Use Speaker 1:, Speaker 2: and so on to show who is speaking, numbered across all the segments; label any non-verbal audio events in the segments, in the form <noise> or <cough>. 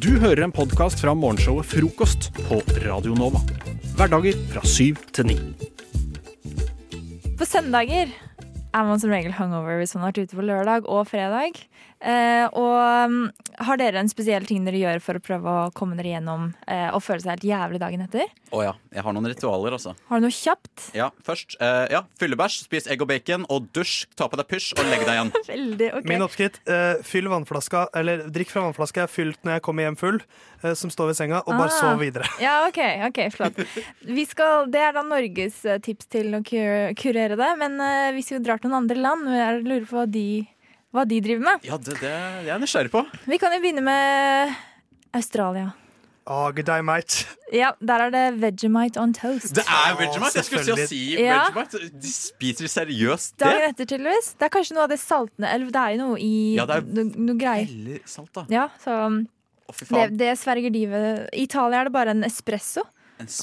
Speaker 1: Du hører en podkast fra morgenshowet Frokost på Radio Nova. Hverdager fra syv til ni.
Speaker 2: På søndager er man som regel hungover hvis man har vært ute på lørdag og fredag. Eh, og mm, har dere en spesiell ting dere gjør for å prøve å komme dere gjennom eh, og føle seg helt jævlig dagen etter?
Speaker 3: Å ja. Jeg har noen ritualer, altså.
Speaker 2: Har du noe kjapt?
Speaker 3: Ja, først. eh, ja, Fyllebæsj, spis egg og bacon, og dusj, ta på deg pysj og legg deg igjen.
Speaker 2: Veldig, ok.
Speaker 4: Min oppskritt eh, fyll vannflaska, eller drikk fra vannflaska jeg har fylt når jeg kommer hjem full, eh, som står ved senga, og bare
Speaker 2: Ah.
Speaker 4: sov videre.
Speaker 2: <laughs> Ja, ok, ok, flott. Vi skal, det er da Norges eh, tips til å ku- kurere det. Men eh, hvis vi drar til noen andre land, jeg lurer på hva de, hva de driver med.
Speaker 3: Ja, det, det jeg er jeg nysgjerrig på.
Speaker 2: Vi kan jo begynne med Australia.
Speaker 4: Ah, good day, mate.
Speaker 2: Ja, der er det Vegemite on toast.
Speaker 3: Det er Vegemite! Jeg skulle til å
Speaker 4: selvfølgelig.
Speaker 3: si
Speaker 2: Ja.
Speaker 3: Vegemite. De spiser seriøst det?
Speaker 2: Dagen etter, tydeligvis. Det er kanskje noe av det saltende Eller det er jo noe i
Speaker 3: Ja, det er-
Speaker 2: no, noe greier.
Speaker 3: Eller salt, da.
Speaker 2: Ja, så um,
Speaker 3: Å, fy
Speaker 2: det,
Speaker 3: faen.
Speaker 2: det sverger de ved. I Italia er det bare en espresso.
Speaker 3: En s-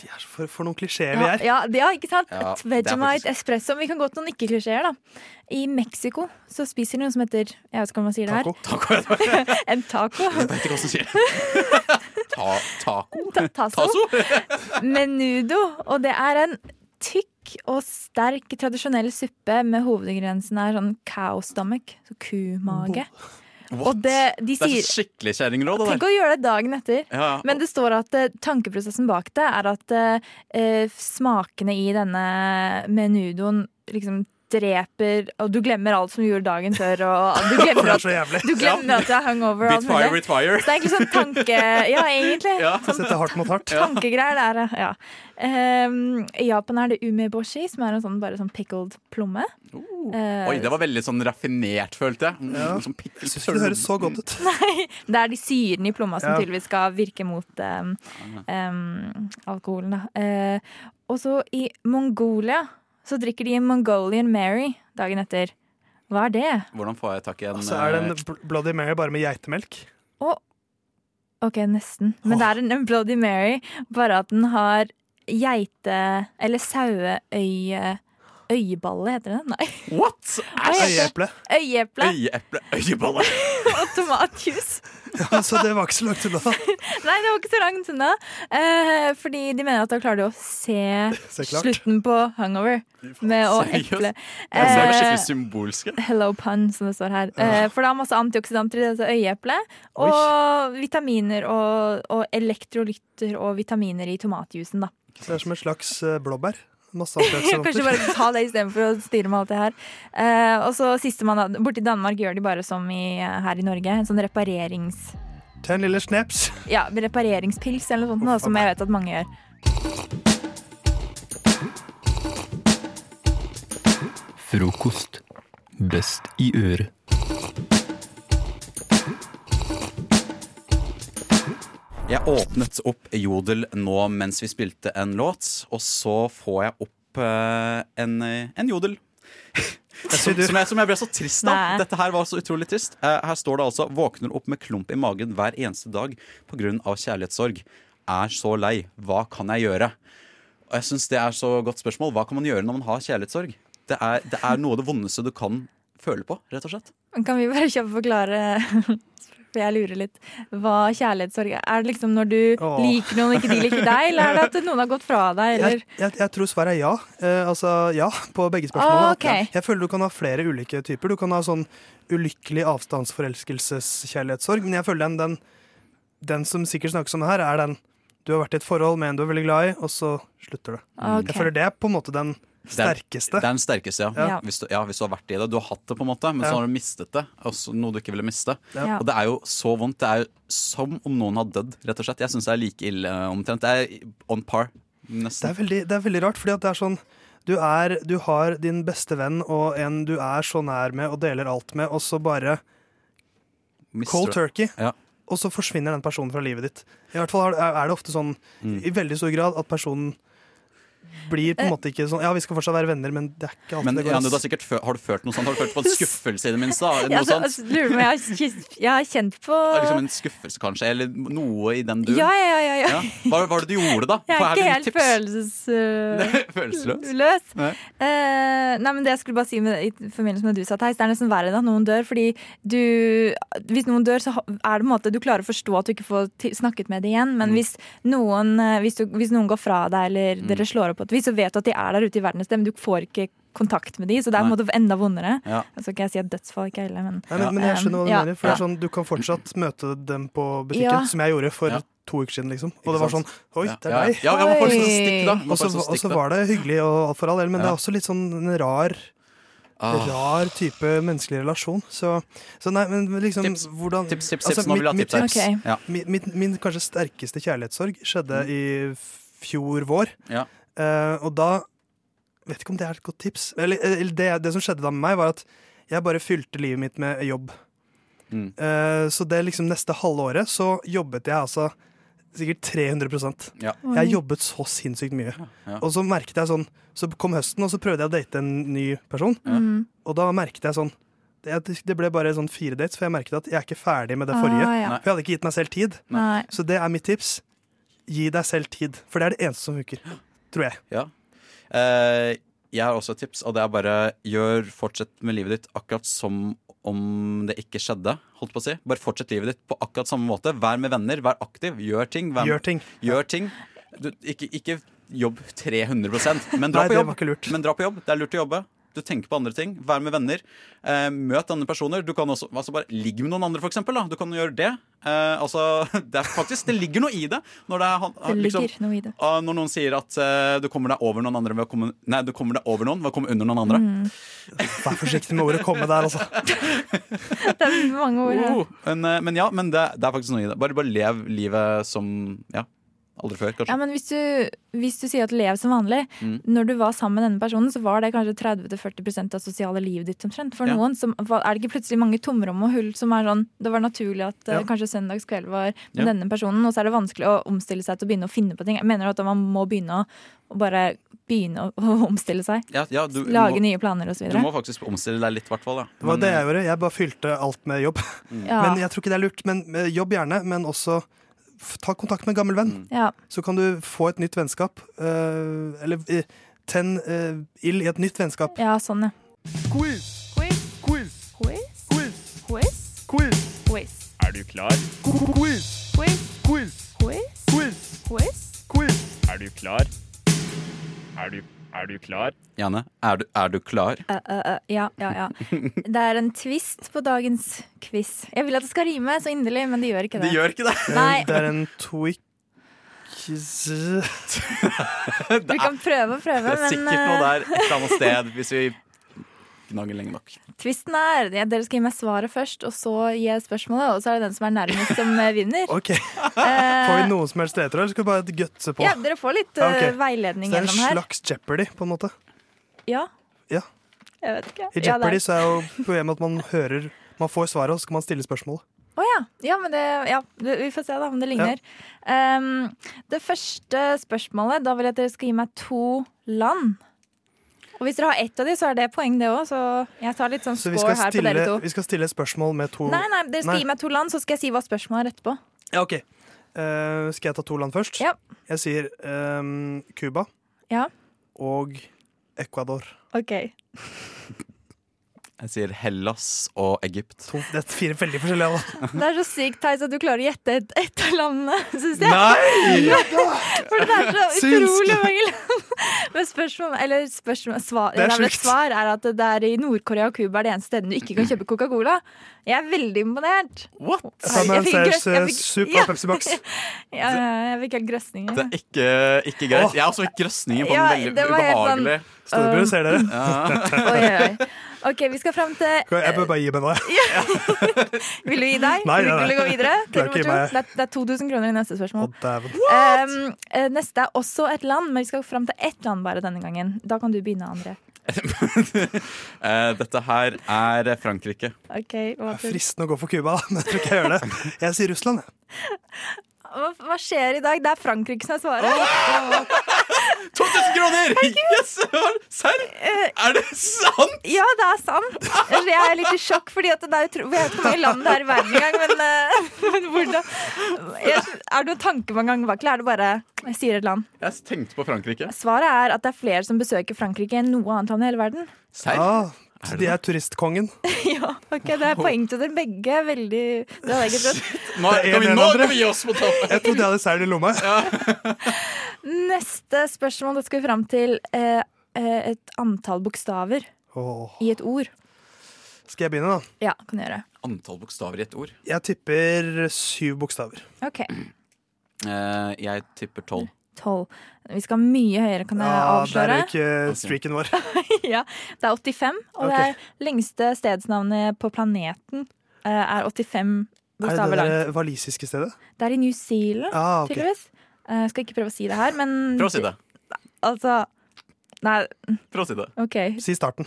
Speaker 4: De er så- for, for noen klisjeer vi
Speaker 2: Ja,
Speaker 4: er.
Speaker 2: ja, det- ja ikke sant?
Speaker 3: Ja,
Speaker 2: Et
Speaker 3: det er
Speaker 2: Vegemite,
Speaker 3: faktisk-
Speaker 2: espresso. Vi kan gå til noen ikke-klisjeer, da. I Mexico så spiser de noe som heter Jeg vet ikke om man sier det her.
Speaker 4: Taco.
Speaker 3: Taco. Jeg vet
Speaker 2: <laughs> En taco.
Speaker 3: ikke hva som skjer. <laughs> Ta, taco?
Speaker 2: <laughs> Ta tasso.
Speaker 3: Taso?
Speaker 2: <laughs> Menudo. Og det er en tykk og sterk tradisjonell suppe med hovedingrediensen er sånn cow stomach, så kumage. Og det, de
Speaker 3: Det er
Speaker 2: sier
Speaker 3: så skikkelig kjerringråd, det
Speaker 2: Tenk
Speaker 3: der.
Speaker 2: å gjøre det dagen etter.
Speaker 3: Ja, ja.
Speaker 2: Men det står at eh, tankeprosessen bak det er at eh, eh, smakene i denne menudoen liksom dreper Og du glemmer alt som du gjorde dagen før, og
Speaker 3: <laughs>
Speaker 2: du
Speaker 4: For
Speaker 2: glemmer
Speaker 4: det er
Speaker 2: at,
Speaker 4: så jævlig.
Speaker 2: du, glemmer at du er hungover. og alt
Speaker 3: Beat fire
Speaker 2: mulig.
Speaker 3: with
Speaker 2: Så
Speaker 3: fire.
Speaker 2: det er egentlig sånn tanke... Ja, egentlig.
Speaker 3: <laughs> Ja.
Speaker 2: Sånn
Speaker 4: Sette hardt mot hardt.
Speaker 2: Tankegreier der, ja. Ehm, I Japan er det umeboshi, som er en sånn, bare sånn pickled plomme. Eh, <laughs>
Speaker 3: Oi, det var veldig sånn raffinert, følte jeg. Mm,
Speaker 4: Ja.
Speaker 3: sånn pikkel-
Speaker 4: Jeg synes det høres så godt ut.
Speaker 2: Det er de syrene i plomma som
Speaker 4: Ja.
Speaker 2: tydeligvis skal virke mot ehm, ehm, alkoholen. Da. Eh, og så i Mongolia så drikker de Mongolian Mary dagen etter. Hva er det?
Speaker 3: Mm, Hvordan får jeg tak i en
Speaker 4: Og så er det
Speaker 3: eh,
Speaker 4: en Bl- Bloody Mary bare med geitemelk.
Speaker 2: Å, OK, nesten. Men det er en, en Bloody Mary, bare at den har geite- eller saueøye... Øyeballe, heter det? Nei.
Speaker 3: What?! Æsj!
Speaker 4: Øyeeple.
Speaker 2: Øyeeple
Speaker 3: Øyeeple,
Speaker 4: <laughs>
Speaker 3: øyeballe.
Speaker 2: <laughs> og tomatjuice.
Speaker 4: Så det var ikke så langt unna.
Speaker 2: Nei, det var ikke så langt unna. Eh, fordi de mener at da klarer du å se,
Speaker 4: Se klart.
Speaker 2: slutten på Hangover med å
Speaker 3: Seriøst?
Speaker 2: eple.
Speaker 3: Jeg ser det skikkelig
Speaker 2: Eh,
Speaker 3: symbolske.
Speaker 2: hello pun, som det står her. Eh, for det er masse antioksidanter i dette øyeeplet. Og vitaminer og, og elektrolytter og vitaminer i tomatjuicen, da.
Speaker 4: Så det er som et slags eh, blåbær.
Speaker 2: <laughs>
Speaker 4: Masse
Speaker 2: Kanskje
Speaker 4: antioksidanter.
Speaker 2: bare ta det istedenfor å styre med alt det her. Eh, og så sistemann da. Borti Danmark gjør de bare som i, her i Norge. En sånn reparerings...
Speaker 4: Ta en lille snaps.
Speaker 2: Ja, repareringspils eller noe sånt, da, som jeg vet at mange gjør.
Speaker 5: Frokost. Best i øret.
Speaker 3: Jeg åpnet opp Jodel nå mens vi spilte en låt, og så får jeg opp eh, en, eh, en Jodel. Som, som, jeg, som jeg ble så trist av.
Speaker 2: Nei.
Speaker 3: Dette her var så utrolig trist. Eh, her står det altså 'våkner opp med klump i magen hver eneste dag pga. kjærlighetssorg'. Er så lei. Hva kan jeg gjøre? Og jeg synes Det er så godt spørsmål. Hva kan man gjøre når man har kjærlighetssorg? Det er, det er noe av det vondeste du kan føle på, rett og slett.
Speaker 2: Men Kan vi bare kjapt forklare, <laughs> for jeg lurer litt, hva kjærlighetssorg er? Er det liksom når du
Speaker 4: Åh.
Speaker 2: liker noen og ikke de liker deg, eller er det at noen har gått fra deg,
Speaker 4: Jeg,
Speaker 2: eller?
Speaker 4: jeg, jeg tror svaret er ja. Eh, altså ja på begge spørsmålene.
Speaker 2: Ah, ok.
Speaker 4: Jeg føler du kan ha flere ulike typer. Du kan ha sånn ulykkelig avstandsforelskelseskjærlighetssorg, men jeg føler den, den, den som sikkert snakkes om her, er den du har vært i et forhold med en du er veldig glad i, og så slutter du.
Speaker 2: Ok.
Speaker 4: Jeg føler det er på en måte den
Speaker 3: Det
Speaker 4: sterkeste.
Speaker 3: er den sterkeste, ja.
Speaker 2: Ja.
Speaker 3: Hvis, du, ja. hvis du har vært i det. Du har hatt det, på en måte, men
Speaker 4: Ja.
Speaker 3: så har du mistet det. Også noe du ikke ville miste.
Speaker 2: Ja.
Speaker 3: Og det er jo så vondt. Det er jo som om noen har dødd, rett og slett. Jeg syns det er like ille eh, omtrent. Det er on par,
Speaker 4: Det
Speaker 3: nesten.
Speaker 4: er veldig, det er veldig rart, fordi at det er sånn du, er, du har din beste venn og en du er så nær med og deler alt med, og så bare
Speaker 3: Mister
Speaker 4: cold
Speaker 3: du-
Speaker 4: turkey.
Speaker 3: Ja.
Speaker 4: Og så forsvinner
Speaker 3: Mm.
Speaker 4: den personen fra livet ditt. I hvert fall er- er det ofte sånn i veldig stor grad at personen blir
Speaker 2: Eh.
Speaker 4: på en måte ikke sånn Ja, vi skal fortsatt være venner, men det er ikke alltid
Speaker 3: Men
Speaker 4: det går.
Speaker 3: Janne, du har,
Speaker 4: ass.
Speaker 3: sikkert fø- har du følt noe sånt? Har du
Speaker 4: <laughs>
Speaker 3: følt på en skuffelse i det minste? da?
Speaker 2: Ja,
Speaker 3: Noe
Speaker 2: altså,
Speaker 3: sånt?
Speaker 2: altså, lurer du
Speaker 3: <laughs>
Speaker 2: på om jeg har kjent- jeg har kjent på
Speaker 3: Liksom en skuffelse, kanskje? Eller noe i den duren?
Speaker 2: Ja, ja, ja. ja, ja.
Speaker 3: Ja. Hva hva var det du gjorde, da?
Speaker 2: Jeg
Speaker 3: Få
Speaker 2: er
Speaker 3: her
Speaker 2: ikke
Speaker 3: noen
Speaker 2: helt øh,
Speaker 3: tips. <laughs>
Speaker 2: følelsesløs.
Speaker 3: Følelsesløs? Nei.
Speaker 2: Eh, nei, men det jeg skulle bare si med, i forbindelse med det du sa, Theis, det er nesten verre enn at noen dør. Fordi du Hvis noen dør, så ha- er det på en måte Du klarer å forstå at du ikke får ti- snakket med det igjen.
Speaker 3: Mm.
Speaker 2: Men hvis, noen, eh, hvis, du, hvis noen går fra deg, eller dere slår opp på et vis, så vet du at de er der ute i verden et sted, men du får ikke kontakt med de, så det er på en
Speaker 3: Nei.
Speaker 2: måte enda vondere.
Speaker 3: Ja.
Speaker 2: Så skal ikke jeg si at dødsfall ikke er ille, men
Speaker 4: Nei, men, men jeg skjønner hva du
Speaker 2: Ja.
Speaker 4: mener. For det er sånn, Du kan fortsatt møte dem på butikken,
Speaker 2: Ja.
Speaker 4: som jeg gjorde for
Speaker 3: Ja.
Speaker 4: to uker siden. liksom Og det var sånn
Speaker 3: sant?
Speaker 4: Oi, det er
Speaker 3: ja.
Speaker 4: deg!
Speaker 3: Ja, ja, man får sånn stikk, da. Man
Speaker 4: Og så
Speaker 3: får sånn
Speaker 4: og så
Speaker 3: stikk, da.
Speaker 4: var det hyggelig og alt for all del, men det
Speaker 3: Ja.
Speaker 4: er også litt sånn en rar
Speaker 3: Ah.
Speaker 4: Rar type menneskelig relasjon. Så, så nei, men liksom
Speaker 3: Tips.
Speaker 4: hvordan
Speaker 3: Tips, tips,
Speaker 4: altså,
Speaker 3: tips. Nå vil jeg ha
Speaker 4: mitt-
Speaker 3: tips her.
Speaker 4: mitt
Speaker 2: Ok.
Speaker 3: Ja. Mm.
Speaker 4: Min, min, min kanskje sterkeste kjærlighetssorg skjedde i fjor vår.
Speaker 3: Ja.
Speaker 4: Eh, og da Vet ikke om det er et godt tips. Eller, eller det, det som skjedde da med meg, var at jeg bare fylte livet mitt med jobb.
Speaker 3: Mm.
Speaker 4: Eh, så det liksom neste halve året så jobbet jeg altså sikkert 300
Speaker 3: Ja.
Speaker 4: Jeg jobbet så sinnssykt mye.
Speaker 3: ja.
Speaker 4: Og så merket jeg sånn Så kom høsten, og så prøvde jeg å date en ny person.
Speaker 3: Ja.
Speaker 4: Og da merket jeg sånn det, det ble bare sånn fire dates, for jeg merket at jeg er ikke ferdig med det forrige.
Speaker 2: Ah, ja.
Speaker 3: Nei.
Speaker 4: For jeg hadde ikke gitt meg selv tid.
Speaker 2: Nei.
Speaker 4: Så det er mitt tips. Gi deg selv tid, for det er det eneste som funker. Tror jeg.
Speaker 3: Ja. Eh, jeg har også et tips, og det er bare gjør fortsett med livet ditt akkurat som om det ikke skjedde. holdt på å si. Bare fortsett livet ditt på akkurat samme måte. Vær med venner, vær aktiv, gjør ting. Vær
Speaker 4: Gjør ting.
Speaker 3: Gjør ting. Du, ikke, ikke jobb 300 men dra
Speaker 4: Nei,
Speaker 3: på
Speaker 4: det
Speaker 3: jobb.
Speaker 4: var ikke lurt.
Speaker 3: Men dra på jobb. Det er lurt å jobbe. Du tenker på andre ting. Vær med venner. Eh, møt andre personer. Du kan også altså bare ligge med noen andre, for eksempel, da. Du kan gjøre det. Eh, altså, <laughs> det er faktisk Det ligger noe i det. Når det er han-
Speaker 2: Det
Speaker 3: liksom-
Speaker 2: ligger noe i det. <laughs>
Speaker 3: Ah, når noen sier at eh, du kommer deg over noen andre ved å komme Nei, du kommer deg over noen ved å komme under noen andre.
Speaker 2: Mm.
Speaker 4: Vær forsiktig med ordet 'komme' der, altså.
Speaker 2: Det er mange ord her.
Speaker 3: Oh, men, eh, men ja, men det, det er faktisk noe i det. Bare, bare lev livet som ja, aldri før, kanskje.
Speaker 2: Ja, men hvis du, hvis du sier at lev som vanlig
Speaker 3: Mm.
Speaker 2: Når du var sammen med denne personen, så var det kanskje 30-40 av sosiale livet ditt omtrent. For
Speaker 3: Ja.
Speaker 2: noen som, var- er det ikke plutselig mange tomrom og hull som er sånn Det var naturlig at eh,
Speaker 4: Ja.
Speaker 2: kanskje søndagskveld var med
Speaker 3: Ja.
Speaker 2: denne personen, og så er det vanskelig å omstille seg til å begynne å finne på ting. Jeg mener at man må begynne å, å bare begynne å, <laughs> å omstille seg.
Speaker 3: ja, ja, du,
Speaker 2: Lage
Speaker 3: må,
Speaker 2: nye planer og så
Speaker 3: du
Speaker 2: videre.
Speaker 3: må faktisk omstille deg litt, i hvert fall. eh, Ja.
Speaker 4: Det var det jeg gjorde. Jeg bare fylte alt med jobb.
Speaker 3: Mm.
Speaker 2: Ja.
Speaker 4: Men jeg tror ikke det er lurt. Men eh, jobb gjerne, men også f- ta kontakt med en gammel
Speaker 3: Mm.
Speaker 4: venn.
Speaker 2: ja.
Speaker 4: Så kan du få et nytt vennskap. eh, eller eh, tenn eh, ild i et nytt vennskap.
Speaker 2: ja, sånn, ja.
Speaker 3: Janne, er du, er du klar?
Speaker 2: Eh, eh, eh, ja, ja,
Speaker 3: <laughs>
Speaker 2: ja. Det er en twist på dagens quiz. Jeg vil at det skal rime så inderlig, men det gjør ikke det.
Speaker 3: gjør ikke det!
Speaker 2: Nei,
Speaker 4: Eh, Det er en tweak <laughs>
Speaker 2: du kan prøve og
Speaker 3: Det
Speaker 2: prøve, men
Speaker 3: er sikkert noe
Speaker 2: eh,
Speaker 3: der et eller annet sted, hvis vi gnager lenge nok.
Speaker 2: twisten er ja, Dere skal gi meg svaret først, og så gir jeg spørsmålet, og så er det den som er nærmest, som eh, vinner.
Speaker 4: <laughs> OK.
Speaker 2: Eh,
Speaker 4: Får vi noen som helst ledere, eller skal vi bare gutse på?
Speaker 2: ja, dere får litt
Speaker 4: Ja, ok.
Speaker 2: eh,
Speaker 4: Så
Speaker 2: veiledning
Speaker 4: det er en
Speaker 2: gjennom her.
Speaker 4: slags Jeopardy, på en måte.
Speaker 2: Ja.
Speaker 4: Ja.
Speaker 2: Jeg vet ikke. Ja,
Speaker 4: I
Speaker 2: det
Speaker 4: Jeopardy
Speaker 2: er-
Speaker 4: så er jo problemet at man hører Man får svaret, og så skal man stille spørsmål.
Speaker 2: Å ja. ja, men det Ja, det- vi får se da om det ligner. Ehm, det første spørsmålet, da vil jeg at dere skal gi meg to land. Og hvis dere har ett av de, så er det poeng, det òg, så jeg tar litt sånn
Speaker 4: Så vi
Speaker 2: score
Speaker 4: skal,
Speaker 2: her på dere
Speaker 4: stille,
Speaker 2: to.
Speaker 4: vi skal stille spørsmål med to
Speaker 2: Nei, nei, dere skal
Speaker 4: Nei.
Speaker 2: gi meg to land, så skal jeg si hva spørsmålet er etterpå.
Speaker 4: Ja, ok Eh, Skal jeg ta to land først?
Speaker 2: Ja.
Speaker 4: Jeg sier ehm, Cuba
Speaker 2: Ja.
Speaker 4: og Ecuador.
Speaker 2: Ok.
Speaker 3: Jeg sier Hellas og Egypt.
Speaker 4: To, det er fire veldig forskjellige land.
Speaker 2: Det er så sykt, Theis, at du klarer å gjette ett et av landene, syns jeg.
Speaker 3: Nei!
Speaker 2: <laughs> For det er så
Speaker 4: Syns du?
Speaker 2: utrolig mange land. Men spørsmålet, eller spørsmål, svar,
Speaker 4: Det er
Speaker 2: det er vel et
Speaker 4: sjukt.
Speaker 2: svar er at det er i Nord-Korea og Cuba er det eneste stedet du ikke kan kjøpe Coca-Cola. Jeg er veldig imponert.
Speaker 3: What?
Speaker 2: Herregud, jeg
Speaker 4: Sammen
Speaker 2: fikk
Speaker 4: ser
Speaker 2: grøss- jeg fikk-
Speaker 4: sup
Speaker 2: <laughs> ja.
Speaker 4: og Pepsi Max.
Speaker 2: Ja, jeg fikk helt grøsninger.
Speaker 3: <laughs> Det er ikke, ikke greit. Jeg har også fikk grøsninger på
Speaker 2: Ja,
Speaker 3: den veldig
Speaker 2: det var helt sånn-
Speaker 3: ubehagelig.
Speaker 4: <laughs> Storebror, ser dere?
Speaker 2: <laughs> Oi, oi, oi. OK, vi skal fram til
Speaker 4: Skal Jeg bør bare gi meg nå. jeg.
Speaker 2: Vil du gi deg?
Speaker 4: Nei,
Speaker 2: vil,
Speaker 4: nei, nei.
Speaker 2: vil du gå videre? Til
Speaker 4: Klarer ikke
Speaker 2: nummer
Speaker 4: gi meg.
Speaker 2: to? Det er, det er 2000 kroner i neste
Speaker 4: Å,
Speaker 2: spørsmål.
Speaker 4: dæven.
Speaker 2: Um, eh, neste er også et land, men vi skal fram til ett land bare denne gangen. Da kan du begynne, André.
Speaker 3: Eh, Dette her er Frankrike.
Speaker 2: Ok, hva
Speaker 4: Det er Fristende å gå for Cuba, da, men jeg tror ikke jeg gjør det. Jeg sier Russland, jeg.
Speaker 2: hva, hva skjer i dag? Det er Frankrike som er svaret.
Speaker 3: 2000 kroner! Yes! Serr? Er det sant?
Speaker 2: Eh, Ja, det er sant. Altså, Jeg er litt i sjokk, fordi at det er utro... Jeg vet ikke hvor mange land det er i verden engang, men, eh, <laughs> men hvordan jeg, Er det noen tanke mange ganger bak, eller er det bare Jeg sier et land.
Speaker 3: Jeg tenkte på Frankrike.
Speaker 2: Svaret er at det er flere som besøker Frankrike enn noe annet land i hele verden.
Speaker 3: Serr?
Speaker 4: Ah, så de er turistkongen.
Speaker 2: Ja, ok, Det er poeng til dere begge. Veldig Det hadde jeg ikke trodd.
Speaker 3: <laughs> Nå
Speaker 4: Det er
Speaker 3: kan vi,
Speaker 4: en
Speaker 3: nå
Speaker 4: av dere.
Speaker 3: kan vi gi oss på toppen.
Speaker 4: Jeg trodde jeg hadde selen i lomma.
Speaker 2: Neste spørsmål. Da skal vi fram til eh, eh, et antall bokstaver
Speaker 4: Åh.
Speaker 2: i et ord.
Speaker 4: Skal jeg begynne, da?
Speaker 2: Ja, kan du gjøre.
Speaker 3: Antall bokstaver i ett ord.
Speaker 4: Jeg tipper syv bokstaver.
Speaker 2: OK.
Speaker 3: Eh, jeg tipper tolv.
Speaker 2: Tolv. Vi skal mye høyere, kan jeg
Speaker 4: Ah, der
Speaker 2: avsløre.
Speaker 4: røyk eh, streaken
Speaker 3: <laughs>
Speaker 4: vår.
Speaker 2: <laughs> ja, det er 85, og det er lengste stedsnavnet på planeten eh, er 85
Speaker 4: Er
Speaker 2: bokstaver
Speaker 4: det det
Speaker 2: langt.
Speaker 4: der walisiske stedet?
Speaker 2: Det er i New Zealand,
Speaker 4: Ah, ok.
Speaker 2: tydeligvis. Eh, skal ikke prøve å si det her, men
Speaker 3: Prøv å si det.
Speaker 2: Altså Nei,
Speaker 3: Prøv å si det.
Speaker 2: OK.
Speaker 4: Si starten.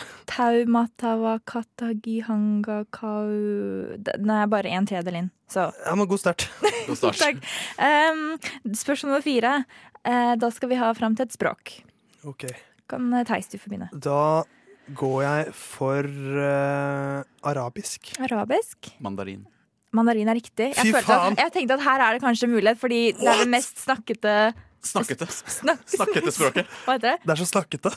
Speaker 2: Taumatawakatagihangakau Den er bare en tredel inn, så
Speaker 4: Ja, men God start.
Speaker 3: <laughs> God start.
Speaker 2: Takk. Um, spørsmål nummer fire. Eh, da skal vi ha fram til et språk.
Speaker 4: Ok,
Speaker 2: Kan eh, Theis du få begynne?
Speaker 4: Da går jeg for eh, arabisk.
Speaker 2: Arabisk.
Speaker 3: Mandarin.
Speaker 2: Mandarin er riktig. Jeg,
Speaker 4: Fy
Speaker 2: følte
Speaker 4: faen!
Speaker 2: at, jeg tenkte at her er det kanskje mulighet, fordi det er det mest snakkete
Speaker 3: Snakkete.
Speaker 2: snak,
Speaker 3: Snakkete språket.
Speaker 2: <laughs> Hva heter det?
Speaker 4: Det er så snakkete.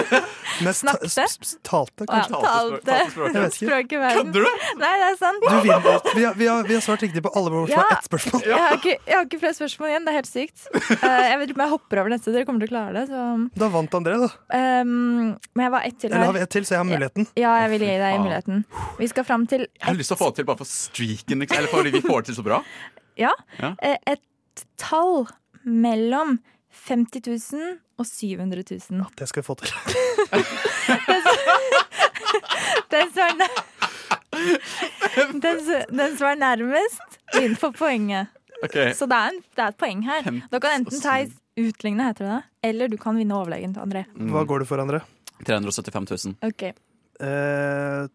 Speaker 3: <laughs>
Speaker 4: Mest ta-
Speaker 2: Snakkete?
Speaker 4: sp- sp- talte,
Speaker 2: Ja,
Speaker 4: kanskje.
Speaker 3: Talte språk- talte språket.
Speaker 4: Jeg
Speaker 2: talte
Speaker 4: vet ikke.
Speaker 2: språk i verden.
Speaker 3: Kødder du?
Speaker 2: Nei, det er sant.
Speaker 4: Du vinner. Vi har, vi, har, vi har svart riktig på alle våre
Speaker 2: Ja.
Speaker 4: ett spørsmål.
Speaker 2: Jeg har, ikke, jeg har ikke flere spørsmål igjen. Det er helt sykt. Eh, jeg vet ikke om jeg hopper over neste. Dere kommer til å klare det. Så.
Speaker 4: Da vant André, da.
Speaker 2: Ehm, men jeg var ett til
Speaker 4: Eller har
Speaker 2: her.
Speaker 4: vi ett til, så jeg har muligheten.
Speaker 2: Ja, jeg vil gi deg
Speaker 3: faen.
Speaker 2: muligheten. Vi skal fram til
Speaker 3: Jeg har lyst til å få det til bare for streaken, liksom. eller fordi vi får det til så bra.
Speaker 2: Ja.
Speaker 3: Ja.
Speaker 2: eh, Et tall mellom 50 000 og 700 000.
Speaker 4: Det skal vi få til.
Speaker 2: Den som er, nær...
Speaker 3: <laughs>
Speaker 2: den, som- den som er nærmest, vinner for poenget.
Speaker 3: Ok,
Speaker 2: Så det er, en, det er et poeng her. Da kan enten Theis utligne, heter det det, eller du kan vinne overlegent, André.
Speaker 4: <laughs>
Speaker 3: Mm.
Speaker 4: Hva går det for, André?
Speaker 3: 375 000.
Speaker 2: Ok,
Speaker 4: Eh,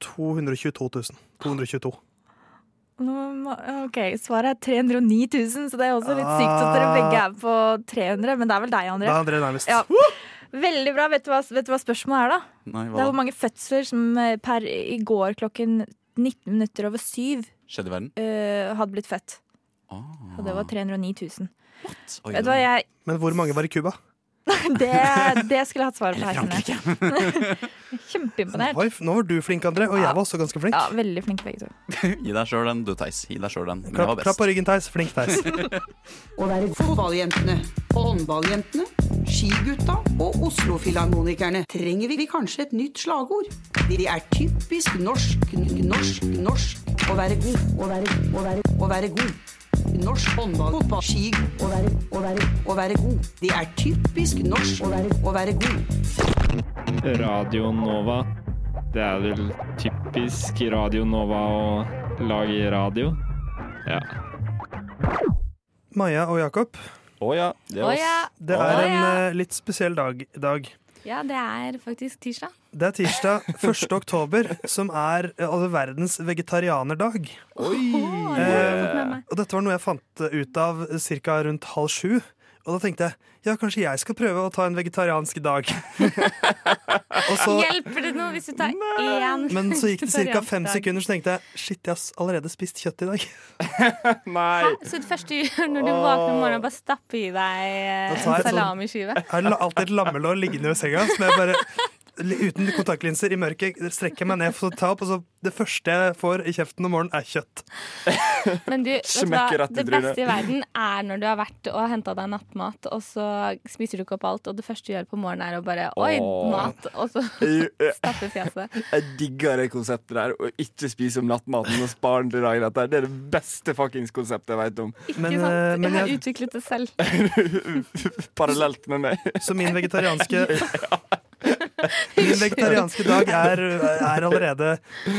Speaker 4: 222 000. 222.
Speaker 2: Nå må- ok, Svaret er 309 000, så det er også litt sykt at dere begge er på 300. Men det er vel deg,
Speaker 4: Da
Speaker 2: André.
Speaker 4: Ah. er André nærmest.
Speaker 2: Ja. Veldig bra. Vet du hva, vet du hva spørsmålet er, da? Det
Speaker 3: Nei,
Speaker 2: er
Speaker 3: hva
Speaker 2: hvor
Speaker 3: da?
Speaker 2: mange fødsler som eh, per i går klokken 19 minutter over syv
Speaker 3: Skjedde i verden?
Speaker 2: eh, hadde blitt født.
Speaker 3: Mm. Ah.
Speaker 2: Og det var 309 000.
Speaker 3: Oi,
Speaker 2: Vet du hva, jeg,
Speaker 4: Men hvor mange var i Cuba?
Speaker 2: det, <laughs> det skulle jeg hatt svar på her. Sine. <laughs>
Speaker 3: Frankrike.
Speaker 2: Kjempeimponert.
Speaker 4: Oi, nå var du flink, André, og jeg var også ganske flink.
Speaker 2: Ja, Veldig flinke begge to.
Speaker 3: <laughs> Gi deg sjøl den, du, Theis. Gi deg sjøl den. Men jeg
Speaker 4: Klapp,
Speaker 3: var
Speaker 4: klapp
Speaker 3: best.
Speaker 4: på ryggen, Theis. Flink, Theis.
Speaker 2: <laughs>
Speaker 6: Å være fotballjentene, håndballjentene, skigutta og Oslo-filharmonikerne trenger vi kanskje et nytt slagord. De er typisk norsk, norsk, norsk. Å være god, å være, å være, å være god. Norsk håndball, fotball, ski, å være, å være, å være god. De er typisk norsk, å være, å være god.
Speaker 7: Radio Nova. Det er vel typisk Radio Nova å lage radio. Ja.
Speaker 4: Maja og Jakob,
Speaker 8: Å ja, det er
Speaker 2: Å
Speaker 8: oss.
Speaker 2: ja.
Speaker 4: det
Speaker 2: Å,
Speaker 4: er en
Speaker 2: ja.
Speaker 4: eh, litt spesiell dag i dag.
Speaker 9: Ja, det er faktisk tirsdag.
Speaker 4: Det er
Speaker 2: <laughs>
Speaker 4: tirsdag 1. oktober, som er eh, altså, verdens vegetarianerdag.
Speaker 9: Åh, det har jeg fått med meg.
Speaker 4: Eh, Og dette var noe jeg fant eh, ut av ca. rundt halv sju. Og da tenkte jeg ja, kanskje jeg skal prøve å ta en vegetariansk
Speaker 9: <laughs>
Speaker 4: dag. og så,
Speaker 9: Hjelper det noe hvis du tar én?
Speaker 4: men
Speaker 9: <laughs>
Speaker 4: så gikk det ca.
Speaker 9: vegetariansk
Speaker 4: fem
Speaker 9: dag?
Speaker 4: sekunder, så tenkte jeg shit, jeg har s- allerede spist kjøtt i dag.
Speaker 8: Nei.
Speaker 9: Så det første du gjør når du våkner om morgenen, bare stappe i deg eh, en
Speaker 4: Da tar jeg et sånn-
Speaker 9: salamiskive?
Speaker 4: Jeg har la- alltid et lammelår liggende ved senga. Som jeg bare li- Uten kontaktlinser i mørket strekker jeg meg ned for å ta opp, og så det første jeg får i kjeften om morgenen, er kjøtt.
Speaker 9: Men du, vet du
Speaker 8: Smekker
Speaker 9: hva?
Speaker 8: rett i
Speaker 9: det
Speaker 8: trynet.
Speaker 9: beste i verden er når du har vært og henta deg nattmat, og så spiser du ikke opp alt, og det første du gjør på morgenen, er å bare Oi,
Speaker 8: Åh.
Speaker 9: mat! Og så
Speaker 8: Jeg, jeg,
Speaker 9: stappe i fjeset.
Speaker 8: jeg digger det konseptet der. Å ikke spise om nattmaten og spare den til dagen etter. Det er det beste fuckings konseptet jeg veit om.
Speaker 9: Ikke
Speaker 4: Men,
Speaker 9: sant?
Speaker 4: eh, men
Speaker 9: Jeg har
Speaker 4: jeg-
Speaker 9: utviklet det selv.
Speaker 8: Parallelt med meg.
Speaker 4: Så min vegetarianske
Speaker 8: <laughs>
Speaker 4: Min vegetarianske dag er, er allerede